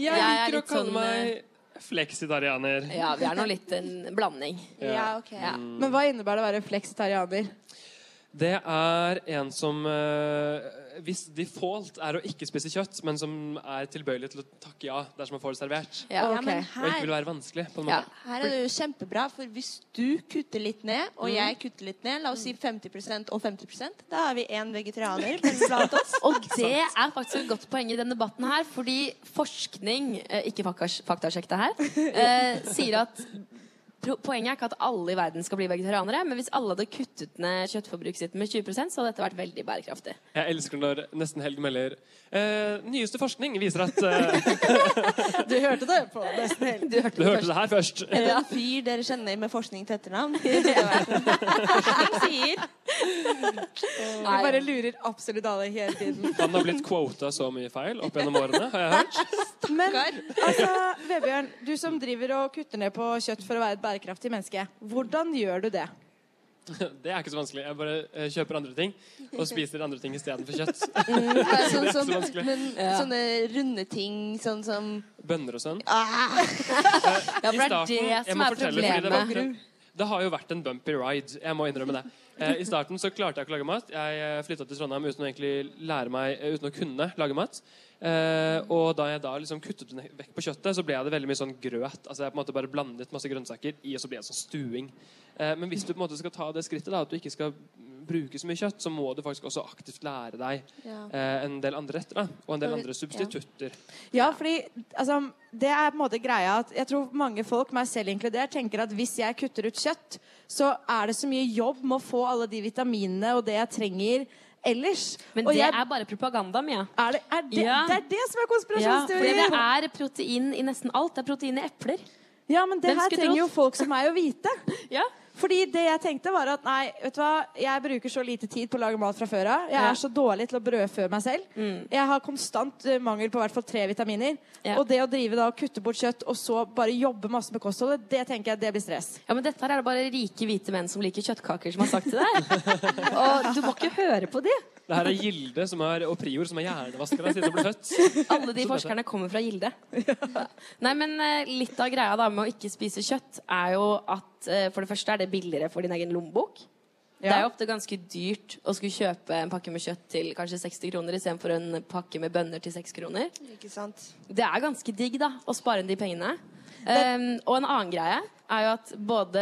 Speaker 2: Jeg er
Speaker 3: liker å
Speaker 2: litt
Speaker 3: kalle
Speaker 2: sånn,
Speaker 3: meg fleksitarianer.
Speaker 2: Ja, vi er nå litt en blanding.
Speaker 3: Ja. Ja, ok.
Speaker 15: Men hva innebærer det å være fleksitarianer?
Speaker 3: *laughs* Det er en som eh, Hvis default er å ikke spise kjøtt, men som er tilbøyelig til å takke ja dersom man får det servert.
Speaker 17: Ja, Ja, men
Speaker 3: Og
Speaker 17: her-
Speaker 3: ikke vil være vanskelig. på en
Speaker 17: Ja,
Speaker 3: måte.
Speaker 17: her er det jo kjempebra, for hvis du kutter litt ned, og
Speaker 3: Mm.
Speaker 17: jeg kutter litt ned, la oss si 50 og 50 da har vi én
Speaker 2: *laughs*
Speaker 17: vegetarianer blant oss.
Speaker 2: Og det er faktisk et godt poeng i denne debatten her, fordi forskning, eh, ikke faktas- faktasjekk det her, eh, sier at pro- Poenget er ikke at alle i verden skal bli vegetarianere, men hvis alle hadde kuttet ned kjøttforbruket sitt med 20 så hadde dette vært veldig bærekraftig.
Speaker 3: Jeg elsker når Nesten Helg melder eh, Nyeste forskning viser at eh,
Speaker 6: Du hørte det på nesten helt.
Speaker 17: Du hørte
Speaker 3: Du hørte det her først.
Speaker 17: Er det en fyr dere kjenner med forskning til
Speaker 2: *laughs*
Speaker 17: etternavn? Han sier
Speaker 6: Vi bare lurer absolutt alle hele *laughs* tiden.
Speaker 3: Han har blitt quota så mye feil opp gjennom årene, har jeg hørt. *laughs*
Speaker 6: Men altså, Vebjørn, du som driver og kutter ned på kjøtt for å være et bærekraftig menneske. Hvordan gjør du det?
Speaker 3: Det er ikke så vanskelig. Jeg bare eh, kjøper andre ting og spiser andre ting istedenfor kjøtt.
Speaker 17: Det er
Speaker 3: *laughs* Så det er
Speaker 17: sånn
Speaker 3: ikke
Speaker 17: som,
Speaker 3: så vanskelig.
Speaker 17: men, sånn Sånne runde ting, sånn som
Speaker 3: Bønner og sånn.
Speaker 17: ah!
Speaker 3: I
Speaker 17: Ja, for det er
Speaker 3: starten-
Speaker 17: det
Speaker 3: jeg
Speaker 17: som
Speaker 3: må
Speaker 17: er
Speaker 3: fortelle, fordi det
Speaker 17: problemet.
Speaker 3: var ikke- Det har jo vært en bumpy ride. Jeg må innrømme det. Eh, I starten så klarte jeg ikke å lage mat. Jeg flytta til Trondheim uten å egentlig lære meg, eh, uten å kunne lage mat. Eh, og da jeg da liksom kuttet den vekk på kjøttet, så ble jeg det veldig mye sånn grøt. Altså jeg på en måte bare blandet masse grønnsaker i, og så ble det sånn stuing. Eh, men hvis du på en måte skal ta det skrittet, da, at du ikke skal bruke så mye kjøtt, så må du faktisk også aktivt lære deg
Speaker 6: Ja.
Speaker 3: eh, en del andre retter, da. Og en del andre substitutter.
Speaker 6: Ja, fordi altså, det er på en måte greia at jeg tror mange folk, meg selv inkludert, tenker at hvis jeg kutter ut kjøtt, så er det så mye jobb med å få alle de vitaminene og det jeg trenger ellers.
Speaker 2: Men
Speaker 6: og
Speaker 2: det
Speaker 6: jeg,
Speaker 2: er bare propaganda, Mia.
Speaker 6: Er det, er det,
Speaker 2: Ja.
Speaker 6: det er det som er
Speaker 2: Ja, fordi
Speaker 6: konspirasjonsteorien!
Speaker 2: det er protein i nesten alt. Det er protein i epler.
Speaker 6: Ja, men det
Speaker 2: Hvem
Speaker 6: her
Speaker 2: skulle
Speaker 6: trenger
Speaker 2: trodd?
Speaker 6: jo folk som meg å
Speaker 2: *laughs*
Speaker 6: vite. Fordi det jeg tenkte var at nei, vet du hva, jeg bruker så lite tid på å lage mat fra før av. Jeg
Speaker 2: Ja.
Speaker 6: er så dårlig til å brødfø meg selv.
Speaker 2: Mm.
Speaker 6: Jeg har konstant eh, mangel på i hvert fall tre vitaminer.
Speaker 2: Ja.
Speaker 6: Og det å drive da og kutte bort kjøtt og så bare jobbe masse med kostholdet, det tenker jeg det blir stress.
Speaker 2: Ja, men dette her er det bare rike hvite menn som liker kjøttkaker som har sagt til deg.
Speaker 6: *laughs*
Speaker 2: Og du må ikke høre på de.
Speaker 3: Det her er Gilde som er, og Prior som er hjernevaskere siden hun ble født.
Speaker 2: Alle de forskerne kommer fra Gilde. Nei, men eh, litt av greia da med å ikke spise kjøtt er jo at eh, for det første er det billigere for din egen lommebok. Det er jo ofte ganske dyrt å skulle kjøpe en pakke med kjøtt til kanskje 60 kroner istedenfor en pakke med bønner til 6 kroner.
Speaker 17: Ikke sant?
Speaker 2: Det er ganske digg da, å spare inn de pengene. Um, og en annen greie er jo at både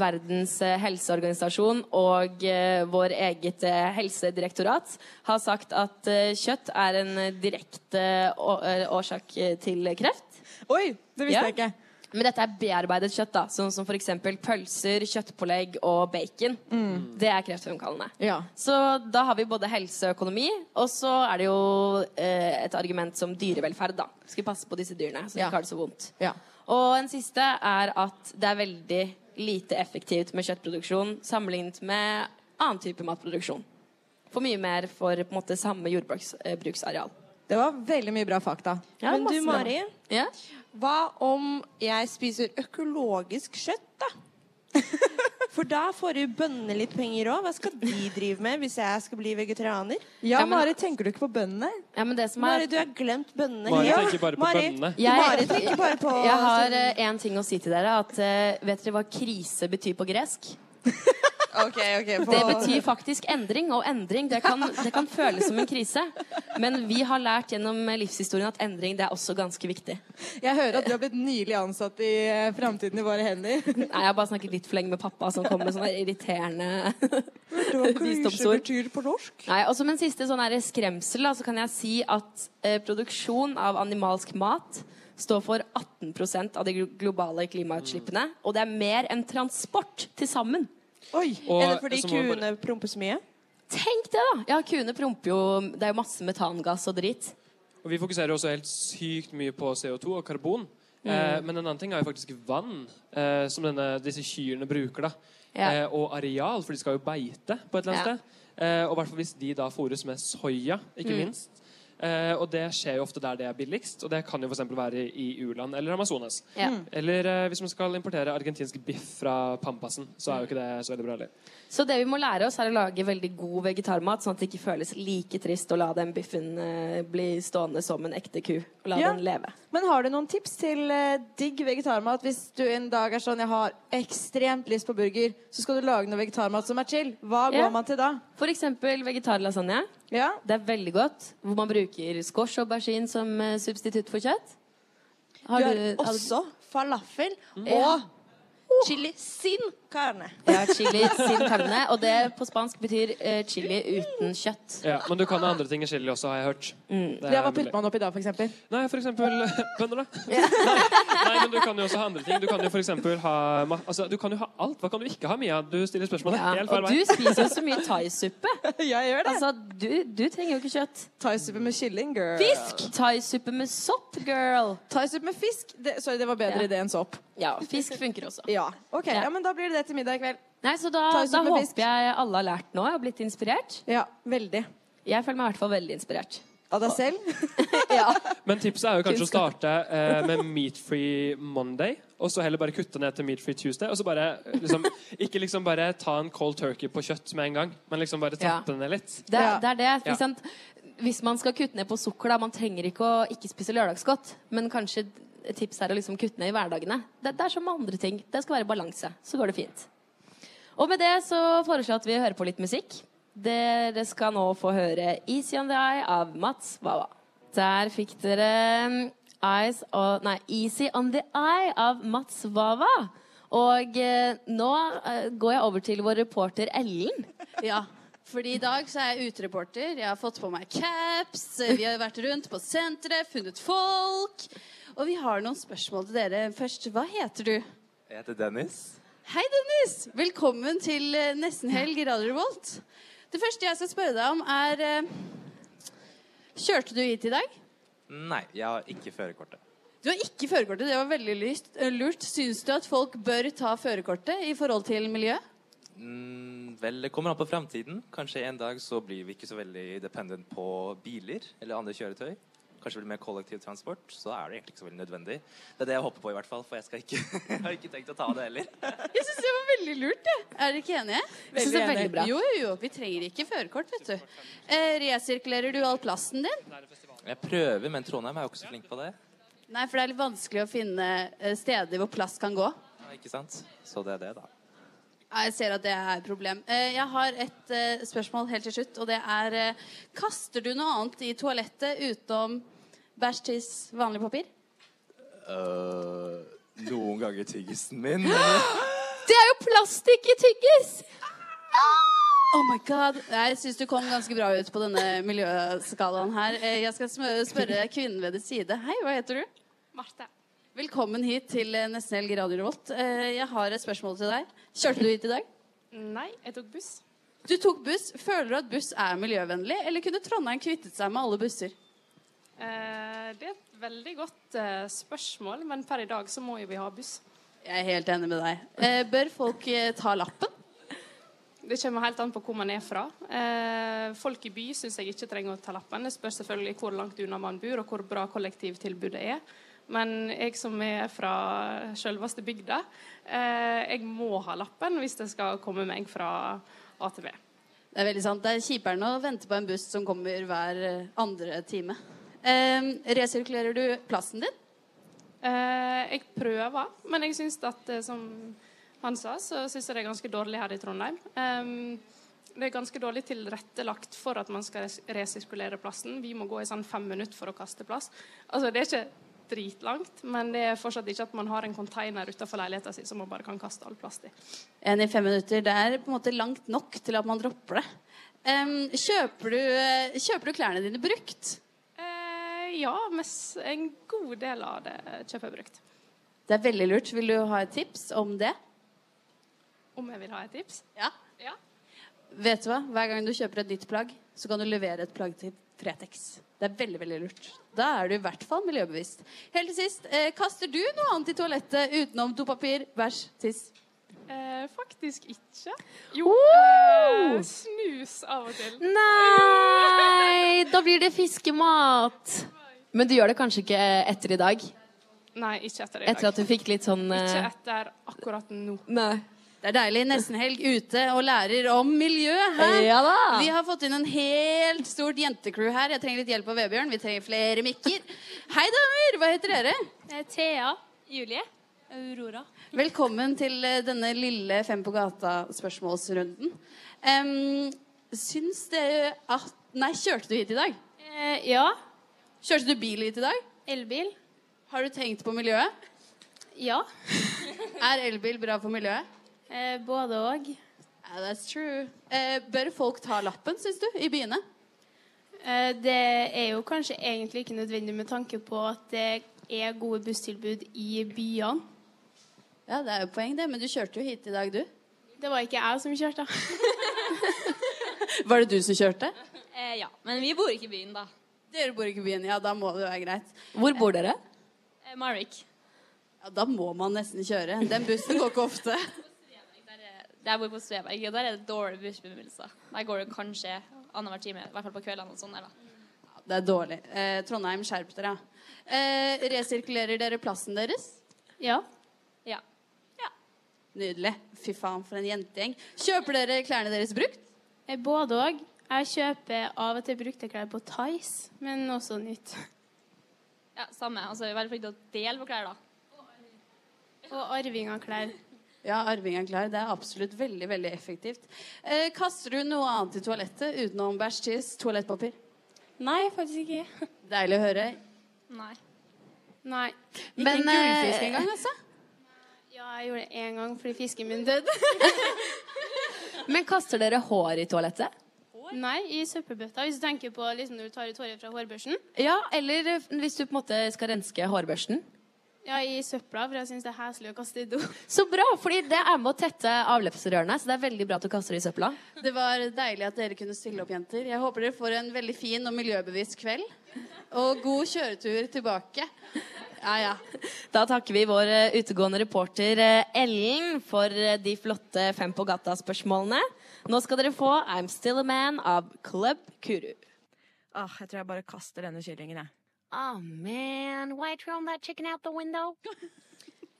Speaker 2: Verdens eh, helseorganisasjon og eh, vår eget eh, helsedirektorat har sagt at eh, kjøtt er en eh, direkte å- eh, årsak eh, til kreft.
Speaker 6: Oi, det visste jeg ikke.
Speaker 2: Men dette er bearbeidet kjøtt, da, sånn som f.eks. pølser, kjøttpålegg og bacon.
Speaker 6: Mm.
Speaker 2: Det er kreftfremkallende.
Speaker 6: Ja.
Speaker 2: Så da har vi både helse og økonomi, og så er det jo eh, et argument som dyrevelferd, da. Skal passe på disse dyrene, så de
Speaker 6: Ja.
Speaker 2: ikke har det så vondt.
Speaker 6: Ja.
Speaker 2: Og en siste er at det er veldig lite effektivt med kjøttproduksjon sammenlignet med annen type matproduksjon. For mye mer for på en måte samme eh, jordbruksareal.
Speaker 6: Det var veldig mye bra fakta.
Speaker 17: Men du, Mari,
Speaker 2: Ja?
Speaker 17: hva om jeg spiser økologisk kjøtt,
Speaker 6: *laughs*
Speaker 17: da? For da får jo bøndene litt penger òg. Hva skal de drive med hvis jeg skal bli vegetarianer?
Speaker 6: Ja, Mari, tenker du ikke på bøndene?
Speaker 2: Ja, men det som er-
Speaker 17: Mari, du har glemt bøndene.
Speaker 3: Mari
Speaker 17: helt.
Speaker 3: tenker bare på
Speaker 17: Mari,
Speaker 3: bøndene.
Speaker 2: Jeg,
Speaker 17: Mari tenker bare på
Speaker 2: *laughs* jeg har én ting å si til dere. At, eh, vet dere hva krise betyr
Speaker 6: *laughs*
Speaker 2: på gresk?
Speaker 17: Ok, ok.
Speaker 2: Det betyr faktisk endring, og endring det kan, det kan føles som en krise. Men vi har lært gjennom livshistorien at endring det er også ganske viktig.
Speaker 6: Jeg hører at du har blitt nylig ansatt i eh, Framtiden i våre hender.
Speaker 2: Nei, Jeg har bare snakket litt for lenge med pappa, som kom med sånne irriterende
Speaker 6: Visdomsord.
Speaker 2: *laughs* visdomsord. Nei, og som en siste sånn her skremsel da, så kan jeg si at eh, produksjon av animalsk mat står for 18 av de glo- globale klimautslippene. Og det er mer enn transport til sammen.
Speaker 17: Og Er det fordi så må vi bare- promper så mye?
Speaker 2: Tenk det, da! Ja, kuene promper jo Det er jo masse metangass og drit.
Speaker 3: Og vi fokuserer jo også helt sykt mye på CO2 og karbon. Eh,
Speaker 2: Mm.
Speaker 3: men en annen ting er jo faktisk vann, eh, som denne, disse kyrne bruker. da.
Speaker 2: Ja.
Speaker 3: Eh, og areal, for de skal jo beite på et eller annet
Speaker 2: Ja.
Speaker 3: sted. Eh, og i hvert fall hvis de da fôres med soya, ikke
Speaker 2: Mm.
Speaker 3: minst. Eh, og det skjer jo ofte der det er billigst, og det kan jo f.eks. være i u-land eller Amazonas.
Speaker 2: Ja. Mm.
Speaker 3: Eller eh, hvis man skal importere argentinsk biff fra Pampasen, så er jo ikke det så veldig bra heller.
Speaker 2: Så det vi må lære oss, er å lage veldig god vegetarmat, sånn at det ikke føles like trist å la den biffen eh, bli stående som en ekte ku. Og la
Speaker 6: Ja.
Speaker 2: den leve.
Speaker 6: Men har du noen tips til eh, digg vegetarmat hvis du en dag er sånn jeg har ekstremt lyst på burger, så skal du lage noe vegetarmat som er chill? Hva går
Speaker 2: Ja.
Speaker 6: man til da?
Speaker 2: For eksempel vegetarlasagne. Det er veldig godt. Hvor man bruker squash og aubergine som eh, substitutt for kjøtt.
Speaker 17: Du har også falafel
Speaker 2: Ja.
Speaker 17: og Chili sin carne.
Speaker 2: Ja,
Speaker 6: *laughs*
Speaker 2: chili sin carne. Og det på spansk betyr eh, chili uten kjøtt.
Speaker 3: Ja, men du kan ha andre ting i chili også, har jeg hørt.
Speaker 2: Mm.
Speaker 3: Det er
Speaker 6: Ja, hva
Speaker 3: mulig.
Speaker 6: putter man oppi da, for eksempel? eh,
Speaker 3: Nei, for
Speaker 2: *laughs*
Speaker 3: eksempel bønner, da. Nei, men du kan jo også ha andre ting. Du kan jo for eksempel ha ma- altså, Du kan jo ha alt. Hva kan du ikke ha, Mia? Du stiller spørsmålet
Speaker 2: Ja,
Speaker 3: helt feil
Speaker 2: og
Speaker 3: vei.
Speaker 2: du spiser jo så mye thaisuppe.
Speaker 6: *laughs* Jeg gjør
Speaker 2: det. Altså, du, du trenger jo ikke kjøtt.
Speaker 6: Thaisuppe med kylling, girl.
Speaker 2: Fisk! Thaisuppe med sopp, girl.
Speaker 6: Thaisuppe med fisk? Det, sorry, det var bedre
Speaker 2: Ja.
Speaker 6: idé enn sopp.
Speaker 2: Ja, fisk funker også.
Speaker 6: Ja, ok. Ja, men da blir det det til middag i kveld.
Speaker 2: Nei, så da,
Speaker 6: Thaisuppe
Speaker 2: da
Speaker 6: med fisk.
Speaker 2: håper jeg alle har lært noe og blitt inspirert.
Speaker 6: Ja, veldig.
Speaker 2: Jeg føler meg i hvert fall veldig inspirert.
Speaker 6: Av deg selv?
Speaker 3: *laughs* Men tipset er jo kanskje å
Speaker 2: Kunnskap.
Speaker 3: starte eh, med Meat Free Monday, og så heller bare kutte ned til Meat Free Tuesday. Og så bare eh, liksom Ikke liksom bare ta en cold turkey på kjøtt med en gang, men liksom bare
Speaker 2: Ja.
Speaker 3: trappe ned litt.
Speaker 2: Det, er- det er det. for
Speaker 3: Ja.
Speaker 2: sant, Hvis man skal kutte ned på sukker, da, man trenger ikke å ikke spise lørdagsgodt, men kanskje et tips er å liksom kutte ned i hverdagene. Det, det er som med andre ting. Det skal være balanse. Så går det fint. Og med det så foreslår jeg at vi hører på litt musikk. Dere skal nå få høre 'Easy On The Eye' av Mats Wawa. Der fikk dere um, Eyes og, nei, 'Easy On The Eye' av Mats Wawa. Og eh, nå eh, går jeg over til vår reporter Ellen.
Speaker 4: Ja, fordi i dag så er jeg utereporter. Jeg har fått på meg caps. Vi har vært rundt på senteret, funnet folk. Og vi har noen spørsmål til dere. Først, hva heter du?
Speaker 18: Jeg heter Dennis.
Speaker 4: Hei, Dennis! Velkommen til eh, Nesten helg i Radio Revolt. Det første jeg skal spørre deg om, er eh, Kjørte du hit i dag?
Speaker 18: Nei, jeg har ikke førerkortet.
Speaker 4: Du har ikke førerkortet. Det var veldig lyst- eh, lurt. Syns du at folk bør ta førerkortet i forhold til miljø?
Speaker 18: Mm, vel, det kommer an på fremtiden. Kanskje en dag så blir vi ikke så veldig dependent på biler eller andre kjøretøy. Kanskje det blir mer kollektivtransport. Så er det egentlig ikke så veldig nødvendig. Det er det jeg håper på, i hvert fall, for jeg, skal ikke, *laughs* jeg har ikke tenkt å ta det heller.
Speaker 4: Jeg syns det var veldig lurt. Jeg. Er dere ikke enige?
Speaker 18: Jeg synes det er Veldig veldig enig. bra.
Speaker 4: Jo, jo, jo. Vi trenger ikke førerkort, vet du. Eh, resirkulerer du all plasten din?
Speaker 18: Jeg prøver, men Trondheim er jo ikke så flink på det.
Speaker 4: Nei, for det er litt vanskelig å finne eh, steder hvor plast kan gå.
Speaker 18: Ja, Ikke sant? Så det er det, da.
Speaker 4: Ja, Jeg ser at det er et problem. Eh, Jeg har et eh, spørsmål helt til slutt, og det er eh, Kaster du noe annet i toalettet utenom bæsj, tiss, vanlig papir?
Speaker 18: Øh, noen ganger tyggisen min.
Speaker 4: Det er jo plastikk i tyggis! Oh my god. Nei, Jeg syns du kom ganske bra ut på denne miljøskalaen her. Eh, Jeg skal smø- spørre kvinnen ved din side. Hei, hva heter du?
Speaker 19: Marte.
Speaker 4: Velkommen hit til eh, Nesten helg Radio Revolt. Eh, Jeg har et spørsmål til deg. Kjørte du hit i dag?
Speaker 19: Nei, jeg tok buss.
Speaker 4: Du tok buss. Føler du at buss er miljøvennlig, eller kunne Trondheim kvittet seg med alle busser?
Speaker 19: Eh, det er et veldig godt eh, spørsmål, men per i dag så må jo vi ha buss.
Speaker 4: Jeg er helt enig med deg. Eh, bør folk eh, ta lappen?
Speaker 19: Det kommer helt an på hvor man er fra. Eh, folk i by syns jeg ikke trenger å ta lappen. Det spørs selvfølgelig hvor langt unna man bor, og hvor bra kollektivtilbudet er. Men jeg som er fra selveste bygda, eh, jeg må ha lappen hvis det skal komme meg fra A til B.
Speaker 4: Det er veldig sant. Det er kjipere enn å vente på en buss som kommer hver eh, andre time. Eh, resirkulerer du plassen din?
Speaker 19: Eh, jeg prøver, men jeg syns at eh, som han sa, så syns jeg det er ganske dårlig her i Trondheim. Ehm, det er ganske dårlig tilrettelagt for at man skal res- resirkulere plasten. Vi må gå i sånn fem minutter for å kaste plass. Altså, det er ikke dritlangt, men det er fortsatt ikke at man har en container utenfor leiligheten sin som man bare kan kaste all plast i.
Speaker 4: En i fem minutter. Det er på en måte langt nok til at man dropper det. Eh, kjøper, du, eh, kjøper du klærne dine brukt?
Speaker 19: Eh, ja, mens en god del av det kjøper jeg brukt.
Speaker 4: Det er veldig lurt. Vil du ha et tips om det?
Speaker 19: Om jeg vil ha et tips?
Speaker 4: Ja. Vet du hva? Hver gang du kjøper et nytt plagg, så kan du levere et plagg til Fretex. Det er veldig veldig lurt. Da er du i hvert fall miljøbevisst. Helt til sist, eh, kaster du noe annet i toalettet utenom dopapir, bæsj, tiss?
Speaker 19: Eh, faktisk ikke. Jo, eh, snus av og til.
Speaker 2: Nei! Da blir det fiskemat. Men du gjør det kanskje ikke etter i dag?
Speaker 19: Nei, ikke etter det i dag.
Speaker 2: Etter at du fikk litt sånn
Speaker 19: Ikke
Speaker 2: eh,
Speaker 19: etter akkurat nå.
Speaker 2: Nei.
Speaker 4: Det er deilig. Nesten helg ute og lærer om miljø her.
Speaker 2: Ja da.
Speaker 4: Vi har fått inn en helt stort jentecrew her. Jeg trenger litt hjelp av Vebjørn. Vi trenger flere mikker. Hei, damer! Hva heter dere?
Speaker 10: Thea. Julie. Aurora.
Speaker 4: Velkommen til eh, denne lille Fem på gata-spørsmålsrunden. Um, syns dere at Nei, kjørte du hit i dag?
Speaker 10: Eh, ja.
Speaker 4: Kjørte du bil hit i dag?
Speaker 10: Elbil.
Speaker 4: Har du tenkt på miljøet?
Speaker 10: Ja.
Speaker 4: *laughs*
Speaker 10: Eh,
Speaker 4: Er elbil bra for miljøet?
Speaker 19: både òg.
Speaker 4: that's true. Eh, bør folk ta lappen, syns du, i byene?
Speaker 19: Eh, Det er jo kanskje egentlig ikke nødvendig med tanke på at det er gode busstilbud i byene.
Speaker 4: Ja, det er jo poeng, det. Men du kjørte jo hit i dag, du.
Speaker 19: Det var ikke jeg som kjørte. *laughs*
Speaker 4: Var det du som kjørte?
Speaker 20: Eh, ja, men vi bor ikke i byen, da.
Speaker 4: Dere bor ikke i byen, ja. Da må det jo være greit.
Speaker 20: Hvor
Speaker 4: bor dere?
Speaker 20: Eh, Marvik.
Speaker 4: Ja, Da må man nesten kjøre. Den bussen går ikke ofte.
Speaker 20: Der jeg bor på Sveberg, og der er det dårlige bussbevilgelser. Der går det kanskje annenhver time, i hvert fall på kveldene og sånn der, da.
Speaker 4: Ja, Det er dårlig. Eh, Trondheim, skjerp dere. ja. Eh, resirkulerer dere plassen deres?
Speaker 19: Ja.
Speaker 20: Ja.
Speaker 4: Nydelig. Fy faen, for en jentegjeng. Kjøper dere klærne deres brukt?
Speaker 19: Eh, Både òg. Jeg kjøper av og til brukte klær på Tice, men også nytt.
Speaker 20: Ja, samme. Altså, vi er veldig flinke til å dele på klær, da.
Speaker 19: Og arving av klær.
Speaker 4: Ja, arving er klar. Det er absolutt veldig veldig effektivt. Eh, kaster du noe annet i toalettet utenom bæsj, tiss, toalettpapir?
Speaker 19: Nei, faktisk ikke.
Speaker 4: Deilig å høre.
Speaker 19: Nei. Nei.
Speaker 4: Ikke Men, en gullfisk eh, engang, altså?
Speaker 19: Ja, jeg gjorde det én gang fordi fisken min døde.
Speaker 4: *laughs*
Speaker 2: Men kaster dere hår i toalettet?
Speaker 19: Nei, i søppelbøtta. Hvis du tenker på liksom, når du tar ut håret fra hårbørsten.
Speaker 2: Ja, eller eh, hvis du på en måte skal renske hårbørsten.
Speaker 19: Ja, i søpla, for jeg syns det er heslig å kaste i do.
Speaker 2: Så bra, fordi det er med å tette avløpsrørene, så det er veldig bra at du kaster det i søpla.
Speaker 4: Det var deilig at dere kunne stille opp, jenter. Jeg håper dere får en veldig fin og miljøbevisst kveld. Og god kjøretur tilbake. Ja, ja.
Speaker 2: Da takker vi vår eh, utegående reporter eh, Ellen for eh, de flotte Fem på gata-spørsmålene. Nå skal dere få I'm Still a Man av Club Kuru.
Speaker 8: Ah, jeg tror jeg bare kaster denne kyllingen, jeg.
Speaker 21: Oh man, why throw that chicken out the window?
Speaker 2: *laughs*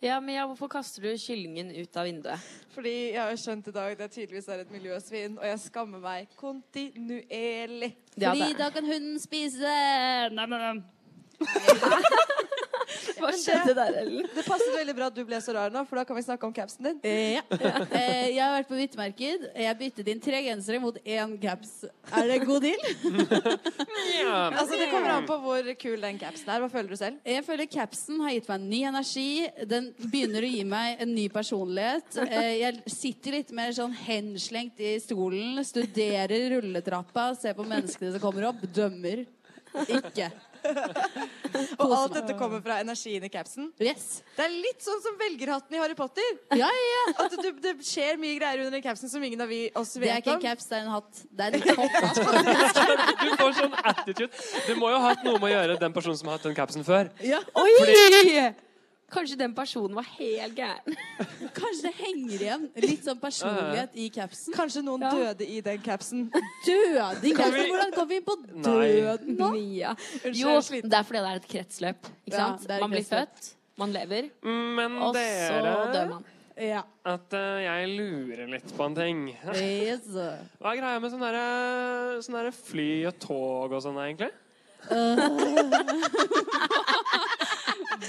Speaker 2: Ja, Mia, hvorfor kaster du kyllingen ut av vinduet?
Speaker 6: Fordi jeg har jo skjønt i dag at jeg tydeligvis er et miljøsvin, og jeg skammer meg kontinuerlig.
Speaker 2: Ja, det er. Fordi
Speaker 6: da
Speaker 2: kan hunden spise
Speaker 4: *laughs*
Speaker 6: nam-nam.
Speaker 2: Hva skjedde der, Ellen?
Speaker 6: Det passet veldig bra at du ble så rar nå, for da kan vi snakke om capsen din.
Speaker 4: Ja. Eh, jeg har vært på byttemarked. Jeg byttet inn tre gensere mot én caps. Er det god deal?
Speaker 6: Altså, det kommer an på hvor kul den capsen er. Hva føler du selv?
Speaker 4: Jeg føler capsen har gitt meg ny energi. Den begynner å gi meg en ny personlighet. Eh, Jeg sitter litt mer sånn henslengt i stolen, studerer rulletrappa, ser på menneskene som kommer opp, dømmer. Ikke.
Speaker 6: *laughs* Og alt dette kommer fra energien i capsen. Det er litt sånn som velgerhatten i Harry Potter.
Speaker 4: Ja,
Speaker 6: At det, det skjer mye greier under den capsen som ingen av vi oss
Speaker 4: Det
Speaker 6: vet
Speaker 4: er ikke en
Speaker 6: om.
Speaker 4: caps, det er en hatt. Det er en topp.
Speaker 3: Du får sånn attitude. Det må jo ha hatt noe med å gjøre den personen som har hatt den capsen før.
Speaker 2: *laughs* Oi! Kanskje den personen var helt gæren.
Speaker 4: *laughs* Kanskje det henger igjen litt sånn personlighet i capsen.
Speaker 6: Kanskje noen døde i den
Speaker 4: *laughs*
Speaker 6: capsen.
Speaker 4: Døde i
Speaker 2: Kan
Speaker 4: capsen?
Speaker 2: vi-
Speaker 4: Hvordan kom vi på
Speaker 2: Nei.
Speaker 4: døden nå?
Speaker 2: Mia. Jo, det er fordi det er et kretsløp. Ikke
Speaker 4: Ja,
Speaker 2: sant?
Speaker 4: det er et
Speaker 2: man blir
Speaker 4: kretsløp.
Speaker 2: født, man lever,
Speaker 3: Men
Speaker 2: og så
Speaker 3: dere-
Speaker 2: dør man.
Speaker 4: Ja.
Speaker 3: At eh, jeg lurer litt på en ting.
Speaker 2: Eh.
Speaker 4: Yes.
Speaker 3: Hva er greia med sånne, derre- sånne derre fly og tog og sånn, egentlig?
Speaker 4: *laughs*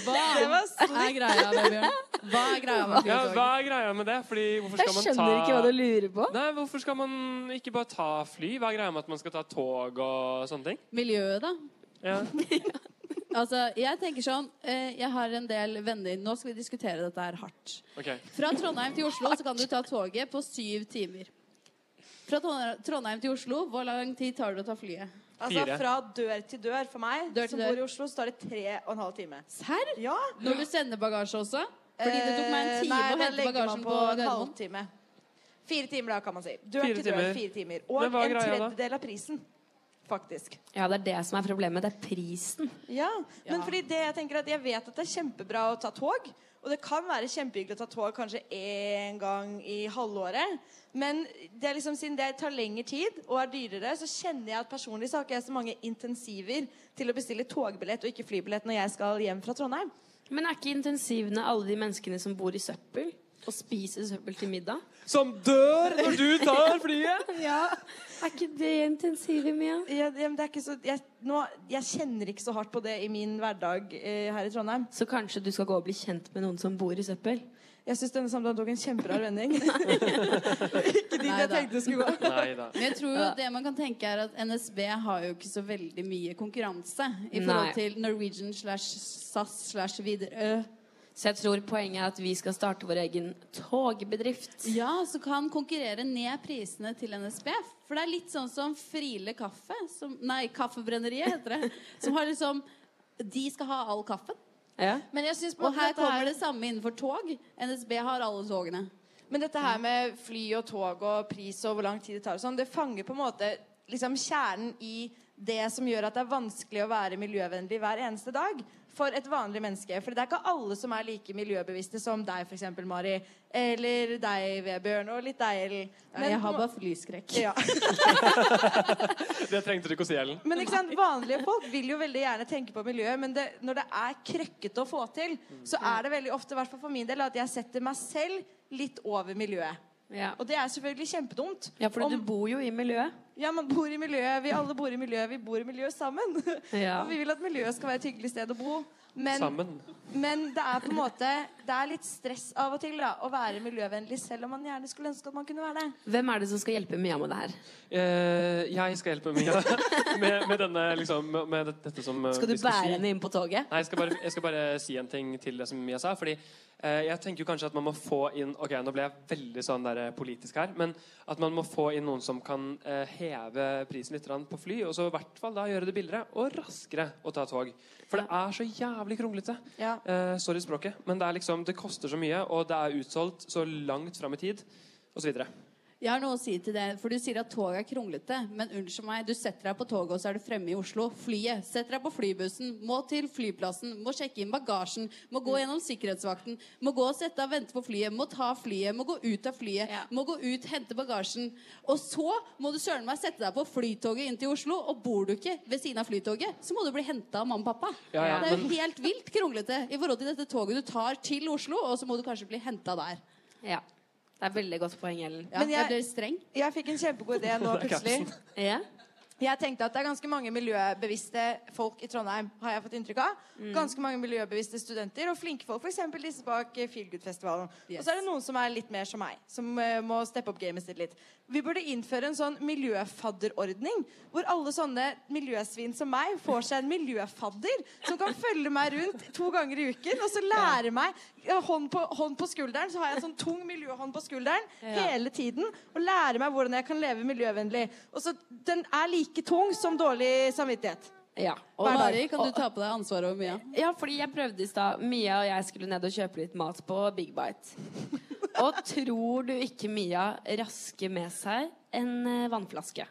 Speaker 4: Hva er greia med Bjørn?
Speaker 6: *laughs*
Speaker 4: Hva er greia med
Speaker 3: Ja,
Speaker 4: flytog?
Speaker 3: hva er greia med det? Fordi hvorfor skal man ta
Speaker 2: lurer på.
Speaker 3: Nei, Hvorfor skal man ikke bare ta fly? Hva er greia med at man skal ta tog og sånne ting?
Speaker 4: Miljøet, da?
Speaker 3: Ja.
Speaker 4: Altså, jeg tenker sånn eh, Jeg har en del venner Nå skal vi diskutere dette her hardt.
Speaker 3: Ok.
Speaker 4: Fra Trondheim til Oslo så kan du ta toget på syv timer. Fra Trondheim- Trondheim til Oslo, hvor lang tid tar det å ta flyet?
Speaker 6: Altså
Speaker 4: Fire.
Speaker 6: fra dør til dør for meg,
Speaker 4: Dør til
Speaker 6: som
Speaker 4: dør.
Speaker 6: bor i Oslo, så tar det tre og en halv time.
Speaker 4: Serr?
Speaker 6: Ja.
Speaker 4: Når du sender bagasje også? Fordi det tok meg en time
Speaker 6: Eh, Nei,
Speaker 4: å
Speaker 6: da
Speaker 4: hente
Speaker 6: legger man
Speaker 4: bagasjen på,
Speaker 6: på en
Speaker 4: Gardermoen.
Speaker 6: halvtime. Fire timer, da, kan man si. Dør
Speaker 2: Fire
Speaker 6: til dør,
Speaker 2: timer.
Speaker 6: fire timer.
Speaker 2: Men
Speaker 6: Og
Speaker 2: hva er
Speaker 6: en
Speaker 2: greia da?
Speaker 6: tredjedel av prisen, faktisk.
Speaker 2: Ja, det er det som er problemet. Det er prisen.
Speaker 6: Ja, men
Speaker 2: Ja.
Speaker 6: fordi det jeg tenker at jeg vet at det er kjempebra å ta tog. Og det kan være kjempehyggelig å ta tog kanskje én gang i halvåret. Men det er liksom, siden det tar lengre tid og er dyrere, så kjenner jeg at personlig så har ikke jeg så mange intensiver til å bestille togbillett og ikke flybillett når jeg skal hjem fra Trondheim.
Speaker 2: Men er ikke intensivene alle de menneskene som bor i søppel og spiser søppel til middag?
Speaker 3: Som dør når du tar
Speaker 2: *laughs*
Speaker 3: flyet!
Speaker 6: Ja.
Speaker 2: Er ikke det intensivet, Mia?
Speaker 6: Ja, ja, men det er ikke så, jeg, nå, jeg kjenner ikke så hardt på det i min hverdag eh, her i Trondheim.
Speaker 2: Så kanskje du skal gå og bli kjent med noen som bor i søppel?
Speaker 6: Jeg syns denne samtalen tok en kjemperar
Speaker 2: *laughs*
Speaker 6: vending. ikke dit jeg tenkte det skulle gå.
Speaker 3: Neida.
Speaker 4: Men jeg tror jo
Speaker 6: Ja.
Speaker 4: det man kan tenke er at NSB har jo ikke så veldig mye konkurranse i
Speaker 2: Nei.
Speaker 4: forhold til Norwegian slash SAS slash Widerøe.
Speaker 2: Så jeg tror poenget er at vi skal starte vår egen togbedrift.
Speaker 4: Ja, som kan konkurrere ned prisene til NSB. For det er litt sånn som Friele kaffe, som, nei, Kaffebrenneriet heter det, som har liksom De skal ha all kaffen.
Speaker 6: Men jeg synes på en
Speaker 4: Og
Speaker 6: måte
Speaker 4: her
Speaker 6: dette
Speaker 4: kommer det samme innenfor tog. NSB har alle togene.
Speaker 6: Men dette her med fly og tog og pris og hvor lang tid det tar, og sånn, det fanger på en måte liksom kjernen i det som gjør at det er vanskelig å være miljøvennlig hver eneste dag for et vanlig menneske. For det er ikke alle som er like miljøbevisste som deg, f.eks. Mari. Eller deg, Vebjørn, og litt deg, Ellen. Men
Speaker 4: jeg
Speaker 6: på
Speaker 4: har
Speaker 6: en
Speaker 4: bare
Speaker 6: må-
Speaker 4: flyskrekk.
Speaker 6: Ja.
Speaker 3: Det trengte du ikke å si, Ellen.
Speaker 6: Men ikke sant, vanlige folk vil jo veldig gjerne tenke på miljøet, men det, når det er krøkkete å få til,
Speaker 2: Mm.
Speaker 6: så er det veldig ofte, i hvert fall for min del, at jeg setter meg selv litt over miljøet. Og det er selvfølgelig kjempedumt.
Speaker 2: Ja, for du bor jo i miljøet.
Speaker 6: Ja, man bor i miljøet. Vi alle bor i miljøet. Vi bor i miljøet sammen. *laughs*
Speaker 2: Ja.
Speaker 6: Og vi vil at miljøet skal være et hyggelig sted å bo.
Speaker 3: Sammen.
Speaker 6: men det er på en måte Det er litt stress av og til da, å være miljøvennlig, selv om man gjerne skulle ønske at man kunne være det.
Speaker 2: Hvem er det som skal hjelpe Mia med det her?
Speaker 3: Eh, jeg skal hjelpe Mia med, med, denne, liksom, med det- dette som eh,
Speaker 2: Skal du
Speaker 3: vi si.
Speaker 2: bære henne inn på toget?
Speaker 3: Nei, jeg skal, bare, jeg skal bare si en ting til det som Mia sa. Fordi eh, jeg tenker jo kanskje at man må få inn Ok, nå ble jeg veldig sånn der eh, politisk her. Men at man må få inn noen som kan eh, heve prisen litt grann på fly. Og så i hvert fall da gjøre det billigere og raskere å ta tog. For det er så jævlig kronglete.
Speaker 6: Ja.
Speaker 3: Eh, sorry språket. Men det er liksom, det koster så mye, og det er utsolgt så langt fram i tid. Og så videre.
Speaker 4: Jeg har noe å si til det, for du sier at toget er kronglete. Men unnskyld meg, du setter deg på toget, og så er du fremme i Oslo. Flyet. Setter deg på flybussen. Må til flyplassen. Må sjekke inn bagasjen. Må
Speaker 3: Mm.
Speaker 4: gå gjennom sikkerhetsvakten. Må gå og sette deg og vente på flyet. Må ta flyet. Må gå ut av flyet. Må gå ut, hente bagasjen. Og så må du søren meg sette deg på flytoget inn til Oslo, og bor du ikke ved siden av flytoget, så må du bli henta av mamma og pappa.
Speaker 3: Ja, ja,
Speaker 4: det er jo
Speaker 3: men-
Speaker 4: helt vilt kronglete i forhold til dette toget du tar til Oslo, og så må du kanskje bli henta der.
Speaker 2: Ja. Det er veldig godt poeng, Ellen.
Speaker 4: Ja, jeg ble streng.
Speaker 6: Jeg fikk en kjempegod idé nå
Speaker 2: *laughs* Det er sånn.
Speaker 6: plutselig.
Speaker 2: kapsen. Ja.
Speaker 6: Jeg tenkte at det er ganske mange miljøbevisste folk i Trondheim, har jeg fått inntrykk av.
Speaker 17: Mm.
Speaker 6: Ganske mange miljøbevisste studenter og flinke folk, f.eks. disse bak eh, Feelgood-festivalen. Og så er det noen som er litt mer som meg, som eh, må steppe opp gamet sitt litt. Vi burde innføre en sånn miljøfadderordning, hvor alle sånne miljøsvin som meg får seg en miljøfadder som kan følge meg rundt to ganger i uken, og så lære meg ja, hånd på, hånd på skulderen, så har jeg en sånn tung miljøhånd på skulderen
Speaker 17: Ja.
Speaker 6: hele tiden og lære meg hvordan jeg kan leve miljøvennlig. Og så Den er like tung som dårlig samvittighet.
Speaker 2: Ja.
Speaker 6: Og Hver dag. Mari, kan du
Speaker 4: ta på deg ansvaret over Mia?
Speaker 2: Ja, fordi jeg prøvde i stad. Mia og jeg skulle ned og kjøpe litt mat på Big Bite.
Speaker 6: *laughs*
Speaker 2: Og tror du ikke Mia rasker med seg en eh, vannflaske?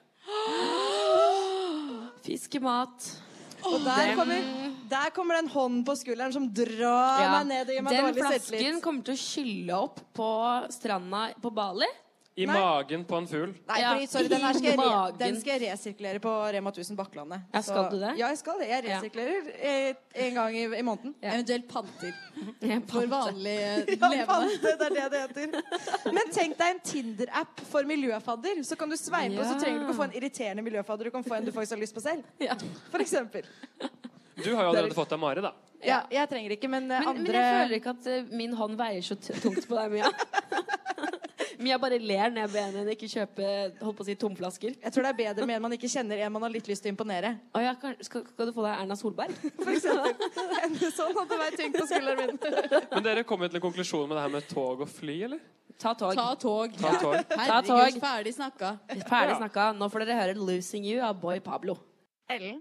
Speaker 2: Fiskemat.
Speaker 6: *gasps* Og der kommer, der kommer den hånden på skulderen som drar
Speaker 2: Ja.
Speaker 6: meg ned og gir meg
Speaker 2: Den
Speaker 6: dårlig
Speaker 2: flasken
Speaker 6: selvtillit.
Speaker 2: kommer til å skylle opp på stranda på Bali.
Speaker 3: I magen på en fugl.
Speaker 6: Nei,
Speaker 2: Ja.
Speaker 6: fordi, sorry, den, her skal jeg re
Speaker 2: Magen.
Speaker 6: den skal jeg resirkulere på Rema 1000 Bakklandet.
Speaker 2: Ja, skal
Speaker 6: Så-
Speaker 2: du det?
Speaker 6: Ja, jeg skal det. Jeg
Speaker 2: Ja.
Speaker 6: resirkulerer eh, en gang i, i måneden.
Speaker 2: *laughs*
Speaker 4: Eventuelt panter.
Speaker 2: For
Speaker 4: vanlig eh,
Speaker 6: *laughs* Ja, pante, det er det det heter. Men tenk deg en Tinder-app for miljøfadder. Så kan du sveipe, og så
Speaker 3: Ja.
Speaker 6: trenger du ikke å få en irriterende miljøfadder. Du kan få en du faktisk har lyst på
Speaker 2: *laughs*
Speaker 6: selv. For eksempel.
Speaker 3: Du har jo allerede fått deg Mari, da.
Speaker 6: Ja, jeg trenger ikke, men, eh,
Speaker 2: Men,
Speaker 6: andre
Speaker 2: men jeg føler ikke at eh, min hånd veier så t- tungt på deg, Mia. *laughs* Mia bare ler når jeg ber henne ikke kjøpe holdt på å si, tomflasker.
Speaker 6: Jeg tror det er bedre med en man ikke kjenner, en man har litt lyst til å imponere.
Speaker 2: Å ja, kan, skal, skal du få deg Erna Solberg?
Speaker 6: *laughs* For eksempel. En sånn hadde vært tyngd på skulderen min.
Speaker 3: Men dere kom jo til en konklusjon med det her med tog og fly, eller?
Speaker 2: *laughs* Ta tog.
Speaker 4: Ta tog.
Speaker 3: Ta tog.
Speaker 2: Ta tog.
Speaker 4: Herregud, ferdig snakka.
Speaker 2: Ferdig snakka. Nå får dere høre 'Losing You' av Boy Pablo.
Speaker 8: Ellen,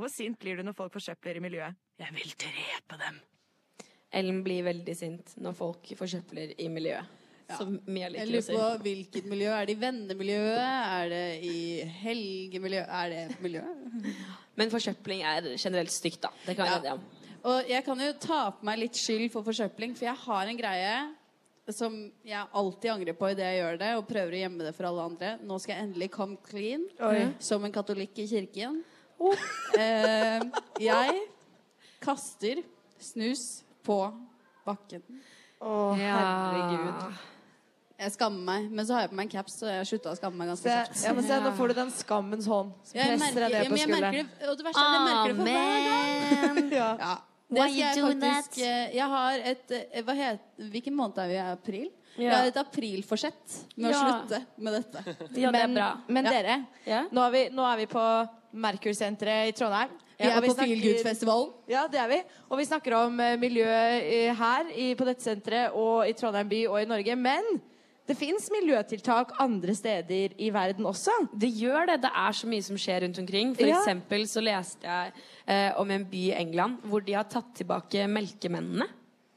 Speaker 8: hvor sint blir du når folk forsøpler i miljøet? Jeg vil
Speaker 6: *laughs*
Speaker 8: drepe dem.
Speaker 2: Ellen blir veldig sint når folk forsøpler i miljøet. Som Mia
Speaker 4: Jeg
Speaker 2: liker å
Speaker 4: lurer
Speaker 2: si.
Speaker 4: på hvilket miljø. Er det i vennemiljøet? Er det i helgemiljøet? Er det miljøet?
Speaker 2: Men forsøpling er generelt stygt, da. Det kan vi være enige om.
Speaker 4: Og jeg kan jo ta på meg litt skyld for forsøpling, for jeg har en greie som jeg alltid angrer på idet jeg gjør det, og prøver å gjemme det for alle andre. Nå skal jeg endelig come clean, Mm.
Speaker 6: Oi. Oh.
Speaker 4: som en katolikk i kirken. *laughs* Eh, jeg kaster snus på bakken.
Speaker 6: Å, herregud.
Speaker 4: Jeg skammer meg, men så har jeg på meg en caps, så jeg har slutta å skamme meg
Speaker 6: Se,
Speaker 4: ganske kjapt.
Speaker 6: ja, men se, nå får du den skammens hånd. Så
Speaker 4: Jeg
Speaker 6: presser
Speaker 4: merker,
Speaker 6: deg
Speaker 4: ja,
Speaker 6: ned på
Speaker 4: men jeg merker
Speaker 6: skulderen.
Speaker 4: det, og det verste er
Speaker 2: Ah,
Speaker 4: at jeg merker det for hver gang.
Speaker 6: ja.
Speaker 4: Det skal jeg faktisk eh, Jeg har et eh, hva het, Hvilken måned er vi i? April?
Speaker 6: Ja.
Speaker 4: Jeg har et aprilforsett med å
Speaker 6: Ja.
Speaker 4: slutte med dette.
Speaker 6: Men, men
Speaker 4: Ja.
Speaker 6: dere, nå, er vi, nå er vi på Merkur-senteret i Trondheim.
Speaker 15: Ja,
Speaker 6: Vi er
Speaker 15: og vi
Speaker 6: på
Speaker 15: snakker-
Speaker 6: Feelgood-festivalen.
Speaker 15: Ja, det er vi. Og vi snakker om eh, miljø eh, her i, på dette senteret og i Trondheim by og i Norge. Men det fins miljøtiltak andre steder i verden også.
Speaker 2: Det gjør det. Det er så mye som skjer rundt omkring. For
Speaker 15: Ja.
Speaker 2: eksempel så leste jeg eh, om en by i England hvor de har tatt tilbake melkemennene.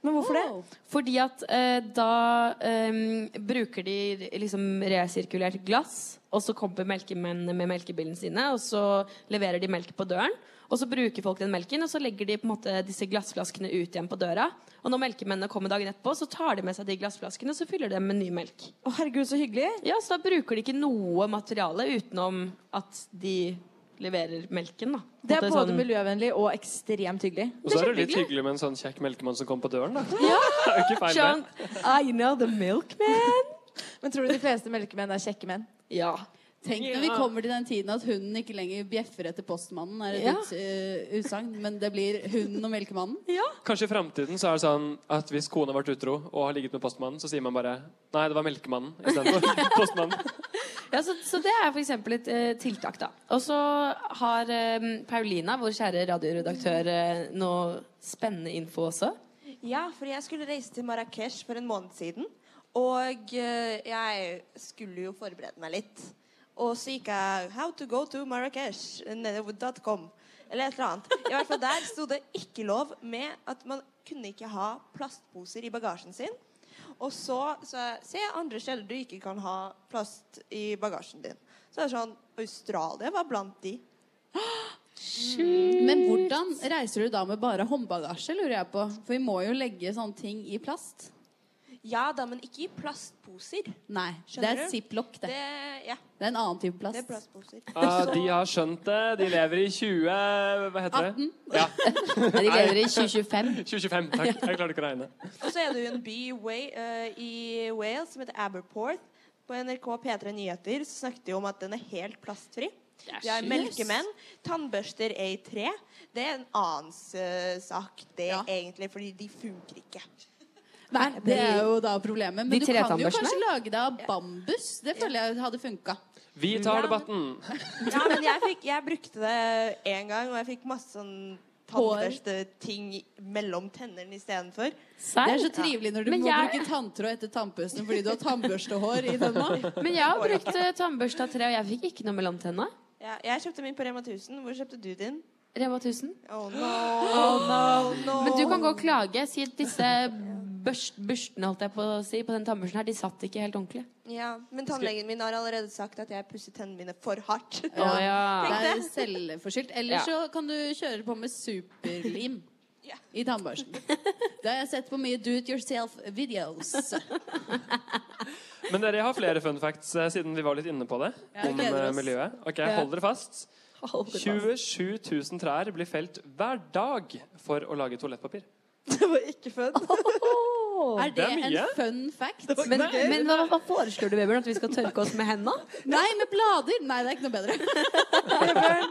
Speaker 15: Men hvorfor
Speaker 2: det? Fordi at eh, da eh, bruker de liksom resirkulert glass, og så kommer melkemennene med melkebilene sine, og så leverer de melk på døren. Og så bruker folk den melken, og så legger de på en måte disse glassflaskene ut igjen på døra. Og når melkemennene kommer dagen etterpå, så tar de med seg de glassflaskene og så fyller de dem med ny melk.
Speaker 15: Å, herregud, så hyggelig.
Speaker 2: Ja, så da bruker de ikke noe materiale utenom at de leverer melken, da.
Speaker 15: Det er
Speaker 2: At
Speaker 15: både
Speaker 2: sånn-
Speaker 15: miljøvennlig og ekstremt hyggelig.
Speaker 3: Og så er det litt hyggelig med en sånn kjekk melkemann som kommer på døren, da. *laughs* Det er jo ikke feil,
Speaker 15: Skjønt.
Speaker 3: det.
Speaker 2: I know the milkman.
Speaker 6: Men tror du de fleste melkemenn er kjekke menn?
Speaker 2: Ja.
Speaker 4: Tenk når vi kommer til den tiden at hunden ikke lenger bjeffer etter postmannen, er et
Speaker 6: Ja.
Speaker 4: ut- eh, utsagn, men det blir hunden og melkemannen.
Speaker 3: Kanskje i framtiden så er det sånn at hvis kona har vært utro og har ligget med postmannen, så sier man bare Nei, det var melkemannen istedenfor postmannen.
Speaker 2: Ja, så, så det er for eksempel et eh, tiltak, da. Og så har eh, Paulina, vår kjære radioredaktør, eh, noe spennende info også.
Speaker 17: Ja, for jeg skulle reise til Marrakech for en måned siden. Og eh, jeg skulle jo forberede meg litt. Og så gikk jeg How to go to Marrakech nede- .com eller et eller annet. I hvert fall Der sto det ikke lov med at man kunne ikke ha plastposer i bagasjen sin. Og så sa jeg Se andre steder du ikke kan ha plast i bagasjen din. Så er det sånn Australia var blant de.
Speaker 4: Mm. Men hvordan reiser du da med bare håndbagasje, lurer jeg på? For vi må jo legge sånne ting i plast.
Speaker 17: Ja da, men ikke i plastposer.
Speaker 4: Nei,
Speaker 17: Skjønner
Speaker 4: det
Speaker 17: du?
Speaker 4: er ziplock, det.
Speaker 17: Det, ja.
Speaker 4: Det er en annen type plast.
Speaker 17: det er plastposer.
Speaker 3: Ah, de har skjønt det. De lever i 20 Hva heter det? Ja.
Speaker 2: de lever i
Speaker 3: 2025. *laughs* 2025, Takk. Jeg klarer ikke å regne.
Speaker 17: Og så er det jo en by i Wa- eh, i Wales som heter Aberporth. På NRK P3 Nyheter så snakket de om at den er helt plastfri.
Speaker 21: er
Speaker 17: De har
Speaker 21: sjukt.
Speaker 17: melkemenn. Tannbørster er i tre. Det er en annen eh, sak, det egentlig, fordi de funker ikke.
Speaker 4: Nei, det er jo da problemet. Men
Speaker 17: De
Speaker 4: du kan jo
Speaker 17: tretannbørstene?
Speaker 4: kanskje lage det av bambus. Det føler jeg hadde funka.
Speaker 3: Vi tar debatten.
Speaker 17: Ja, men jeg, fikk, jeg brukte det én gang, og jeg fikk masse sånn tannbørsteting mellom tennene istedenfor.
Speaker 4: Det er så trivelig når du
Speaker 17: Men
Speaker 4: må
Speaker 17: jeg-
Speaker 4: bruke tanntråd etter tannpusten fordi du har tannbørstehår i denne.
Speaker 2: *laughs* Men jeg har brukt eh, tannbørsta tre, og jeg fikk ikke noe mellom tenna.
Speaker 17: Ja, jeg kjøpte min på Rema 1000. Hvor kjøpte du din?
Speaker 2: Rema 1000. *gasps*
Speaker 17: Oh no. Oh,
Speaker 2: Men du kan gå og klage. Si at disse børst, børstene holdt jeg på å si, på den tannbørsten her, de satt ikke helt ordentlig.
Speaker 17: Ja, men tannlegen min har allerede sagt at jeg pusser tennene mine for hardt.
Speaker 2: Å, ja.
Speaker 17: Tenk
Speaker 4: Det
Speaker 17: det.
Speaker 4: er selvforskyldt. Eller
Speaker 17: Ja.
Speaker 4: så kan du kjøre på med superlim
Speaker 3: *laughs*
Speaker 4: i tannbørsten. Det har jeg sett på mye do it yourself-videos.
Speaker 3: Men dere har flere fun facts eh, siden vi var litt inne på det.
Speaker 4: Ja,
Speaker 3: om
Speaker 4: gleder
Speaker 3: eh,
Speaker 4: oss.
Speaker 3: miljøet. Ok,
Speaker 4: Ja.
Speaker 3: Hold dere fast. 27 000 trær blir felt hver dag for å lage toalettpapir.
Speaker 2: *laughs*
Speaker 4: Er det
Speaker 3: Det er
Speaker 4: en
Speaker 3: mye.
Speaker 4: fun fact?
Speaker 2: Men, men hva, hva foreslår du, Vebjørn? At vi skal tørke oss med henda?
Speaker 4: Nei, med blader! Nei, det er ikke noe
Speaker 17: *laughs*
Speaker 4: bedre.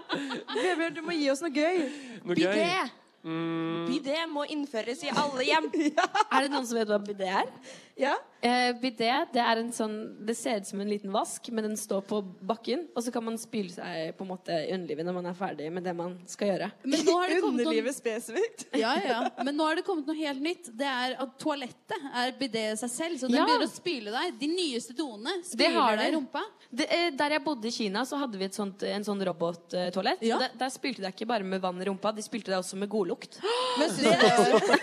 Speaker 17: Vebjørn, du må gi oss noe gøy.
Speaker 3: Noe
Speaker 17: Bidé.
Speaker 3: gøy. Mm,
Speaker 17: Bidé må innføres i alle
Speaker 4: *laughs*
Speaker 17: hjem.
Speaker 2: Er det noen som vet hva bidé er?
Speaker 17: Ja.
Speaker 2: Eh, bidé det er en sånn Det ser ut som en liten vask, men den står på bakken. Og så kan man spyle seg på en måte i underlivet når man er ferdig med det man skal gjøre.
Speaker 4: Men nå har det kommet noen- Underlivet
Speaker 17: spesifikt.
Speaker 4: *laughs* Ja, ja. Men nå har det kommet noe helt nytt. Det er at toalettet er bidé i seg selv. Så den
Speaker 2: Ja.
Speaker 4: begynner å spyle deg. De nyeste tonene
Speaker 2: Det har
Speaker 4: spyler deg i
Speaker 2: de.
Speaker 4: rumpa.
Speaker 2: Det, eh, der jeg bodde i Kina, så hadde vi et sånt, en sånn robottoalett.
Speaker 4: Ja.
Speaker 2: Der, der spylte de ikke bare med vann i rumpa, de spylte deg også med
Speaker 4: *gasps*
Speaker 2: godlukt.
Speaker 6: Men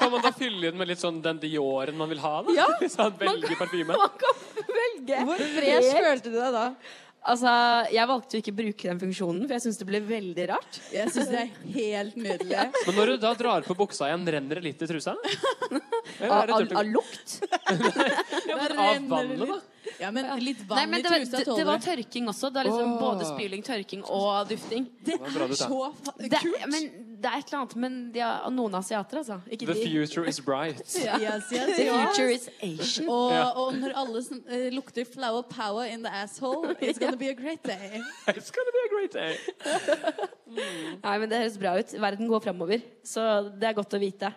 Speaker 3: Kan man da fylle den med litt sånn den Dioren man vil ha? da? *laughs*
Speaker 2: Ja.
Speaker 3: sånn, velge parfyme.
Speaker 2: velge.
Speaker 3: Hvor fresh
Speaker 2: følte du deg da? Altså, Jeg valgte jo ikke å bruke den funksjonen, for jeg syns det ble veldig rart.
Speaker 4: Jeg syns det er helt nydelig.
Speaker 3: Men når du da drar på buksa igjen, renner det litt i trusa?
Speaker 2: Av- av- av
Speaker 4: *laughs*
Speaker 2: lukt?
Speaker 3: ja, men av vannet, da.
Speaker 4: Ja, men litt vann
Speaker 2: Nei, men
Speaker 4: i
Speaker 2: det, var,
Speaker 4: trusa
Speaker 2: det, det
Speaker 4: tåler
Speaker 2: var
Speaker 4: du.
Speaker 2: tørking også. Det er liksom
Speaker 4: Åh.
Speaker 2: Både spyling, tørking og dufting. Det
Speaker 3: var bra du sa. så
Speaker 2: kult! men, det er et eller annet Men de har, noen asiater, altså. Ikke
Speaker 3: The
Speaker 2: de.
Speaker 3: future is bright.
Speaker 4: Ja.
Speaker 3: *laughs*
Speaker 4: Yes, yes,
Speaker 2: The
Speaker 4: yes.
Speaker 2: future is Asian.
Speaker 4: Og,
Speaker 3: Ja.
Speaker 4: og når alle sn- eh, lukter flower power in the asshole, it's gonna be a great day.
Speaker 3: It's gonna be a great day.
Speaker 2: Nei, men Det høres bra ut. Verden går framover. Så det er godt å vite.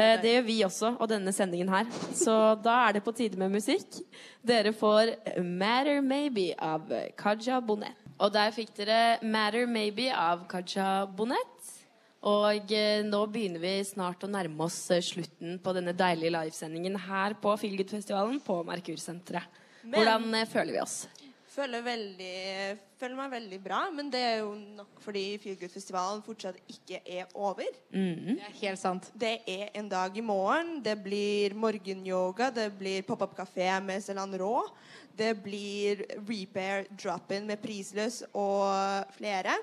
Speaker 2: Eh, det gjør vi også, og denne sendingen her. Så da er det på tide med musikk. Dere får 'Matter Maybe' av Kaja Bonnet. Og der fikk dere 'Matter Maybe' av Kaja Bonnet. Og eh, nå begynner vi snart å nærme oss eh, slutten på denne deilige livesendingen her på Feelgood-festivalen på Merkur-senteret.
Speaker 17: Men-
Speaker 2: Hvordan eh, føler vi oss?
Speaker 17: Føler, veldig, føler meg veldig bra, men det er jo nok fordi Feelgood-festivalen fortsatt ikke er over.
Speaker 2: Mhm.
Speaker 17: er helt sant. Det er en dag i morgen. Det blir morgenyoga, det blir pop-up kafé med Celan Rå. Det blir repair drop-in med Prisløs og flere.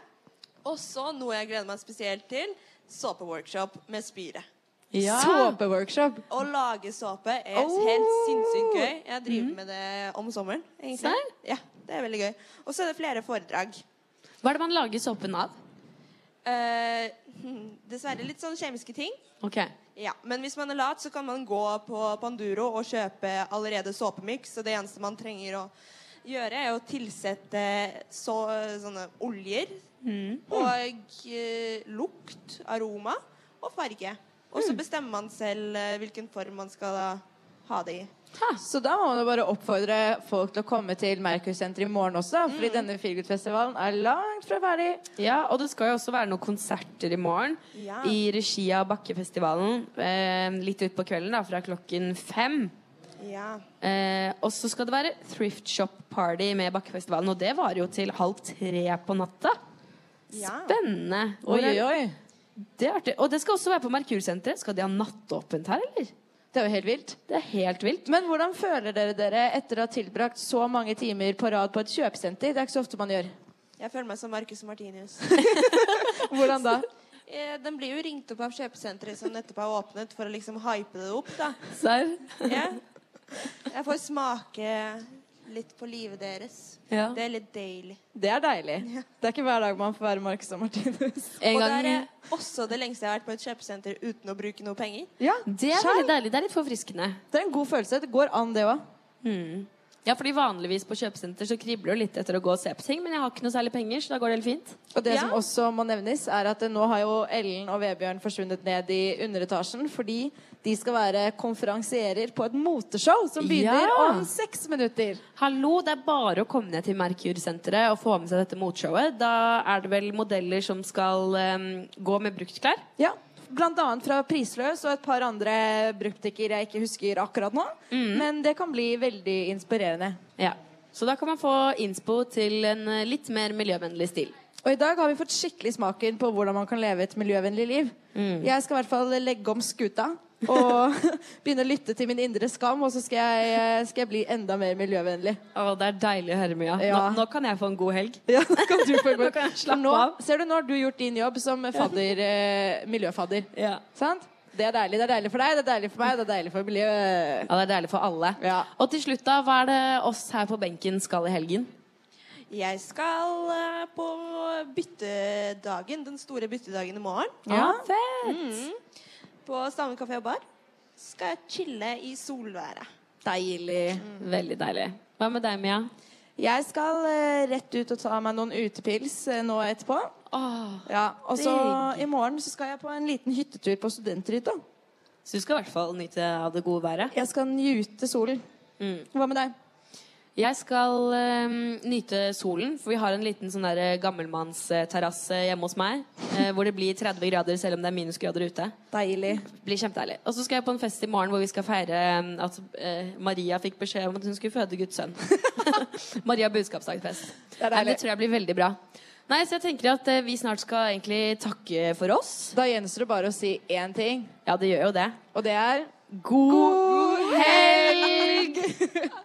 Speaker 17: Og så noe jeg gleder meg spesielt til, såpeworkshop med Spyre.
Speaker 6: Ja.
Speaker 15: Ah.
Speaker 6: Såpeworkshop.
Speaker 17: Å lage såpe er helt sinnssykt gøy. Jeg driver med det om sommeren. egentlig. Ja, det er veldig gøy. Og så er det flere foredrag.
Speaker 2: Hva er det man lager såpen av?
Speaker 17: Eh, *laughs* hm, dessverre litt sånn kjemiske ting.
Speaker 2: Ok.
Speaker 17: Ja, Men hvis man er lat, så kan man gå på Panduro og kjøpe allerede såpemyks. Og det eneste man trenger å gjøre, er å tilsette så, sånne oljer
Speaker 6: Mm.
Speaker 17: og eh, lukt, aroma og farge. Og
Speaker 6: Mm.
Speaker 17: så bestemmer man selv eh, hvilken form man skal ha det i.
Speaker 6: Så da må man jo bare oppfordre folk til å komme til Merkur-senteret i morgen også. Fordi denne Feelgood-festivalen er langt fra ferdig.
Speaker 2: Mm. Ja, og det skal jo også være noen konserter i morgen
Speaker 6: Ja.
Speaker 2: i regi av Bakkefestivalen. Eh, litt utpå kvelden, da, fra klokken fem.
Speaker 17: Ja.
Speaker 2: Eh, og så skal det være thrift shop party med Bakkefestivalen, og det varer jo til halv tre på natta. Spennende.
Speaker 6: Oi,
Speaker 2: Hvor er-
Speaker 6: oi, oi.
Speaker 2: Det er artig. Og det skal også være på Merkursenteret. Skal de ha nattåpent her, eller?
Speaker 6: Det er jo helt vilt.
Speaker 2: Det er helt vilt.
Speaker 6: Men hvordan føler dere dere etter å ha tilbrakt så mange timer på rad på et kjøpesenter? Det er ikke så ofte man gjør.
Speaker 17: Jeg føler meg som Marcus Martinius.
Speaker 6: *laughs* Hvordan
Speaker 2: *laughs*
Speaker 6: da?
Speaker 17: Eh, Den blir jo ringt opp av kjøpesenteret som nettopp har åpnet, for å liksom hype det opp, da.
Speaker 2: Serr?
Speaker 17: Ja. Jeg får smake litt på livet deres.
Speaker 6: Ja.
Speaker 17: Det er litt deilig.
Speaker 6: Det er deilig. Det er ikke hver dag man får være Marcus og Martinus.
Speaker 2: *laughs*
Speaker 17: og det er eh, også det lengste jeg har vært på et kjøpesenter uten å bruke noe penger.
Speaker 6: Ja,
Speaker 2: Det er veldig deilig. Det er litt forfriskende. Hmm.
Speaker 6: Det er en god følelse. Det går an, det òg.
Speaker 2: Ja, fordi vanligvis på kjøpesenter så kribler det litt etter å gå og se på ting, men jeg har ikke noe særlig penger, så da går det helt fint.
Speaker 6: Og det som også må nevnes, er at eh, nå har jo Ellen og Vebjørn forsvunnet ned i underetasjen fordi de skal være konferansierer på et moteshow som begynner
Speaker 2: Ja.
Speaker 6: om seks minutter.
Speaker 2: Hallo, det er bare å komme ned til Merkur-senteret og få med seg dette motshowet. Da er det vel modeller som skal eh, gå med bruktklær?
Speaker 6: Ja. Blant annet fra Prisløs og et par andre bruktbutikker jeg ikke husker akkurat nå.
Speaker 2: Mm.
Speaker 6: Men det kan bli veldig inspirerende.
Speaker 2: Ja. Så da kan man få innspo til en eh, litt mer miljøvennlig stil.
Speaker 6: Og i dag har vi fått skikkelig smaken på hvordan man kan leve et miljøvennlig liv.
Speaker 2: Mm.
Speaker 6: Jeg skal i hvert fall legge om skuta og *laughs* begynne å lytte til min indre skam, og så skal jeg, eh, skal jeg bli enda mer miljøvennlig.
Speaker 2: Å, det er deilig å høre, Mia.
Speaker 6: Ja.
Speaker 2: Nå, nå kan jeg få en god helg.
Speaker 6: Ja, nå kan du få en god
Speaker 2: slappe
Speaker 6: nå,
Speaker 2: av.
Speaker 6: Ser du, nå har du gjort din jobb som fadder, eh, miljøfadder. Sant? Det er deilig. Det er deilig for deg, det er deilig for meg, det er deilig for miljøet.
Speaker 2: Ja, det er deilig for alle. Og til slutt, da, hva er det oss her på benken skal i helgen?
Speaker 17: Jeg skal eh, på byttedagen, den store byttedagen i morgen.
Speaker 2: Ja, Ah,
Speaker 17: Mm. På Stavn kafé og bar skal jeg chille i solværet.
Speaker 6: Deilig.
Speaker 2: Mm. Veldig deilig. Hva med deg, Mia?
Speaker 6: Jeg skal eh, rett ut og ta meg noen utepils eh, nå etterpå. ja, og så
Speaker 2: digg.
Speaker 6: i morgen så skal jeg på en liten hyttetur på studenthytta.
Speaker 2: Så du skal i hvert fall nyte av det gode været?
Speaker 6: Jeg skal nyte solen. Hva med deg?
Speaker 2: Jeg skal eh, nyte solen, for vi har en liten sånn der gammelmannsterrasse hjemme hos meg. eh, hvor det blir 30 grader selv om det er minusgrader ute.
Speaker 6: Deilig.
Speaker 2: Blir kjempedeilig. Og så skal jeg på en fest i morgen hvor vi skal feire eh, at eh, Maria fikk beskjed om at hun skulle føde Guds sønn. *laughs* Maria budskapsdagfest.
Speaker 6: Det, er
Speaker 2: Nei,
Speaker 6: deilig.
Speaker 2: det tror jeg blir veldig bra. Nei, så jeg tenker at eh, vi snart skal egentlig takke for oss.
Speaker 6: Da gjenstår det bare å si én ting.
Speaker 2: Ja, det gjør jo det.
Speaker 6: Og det er
Speaker 2: God,
Speaker 6: helg!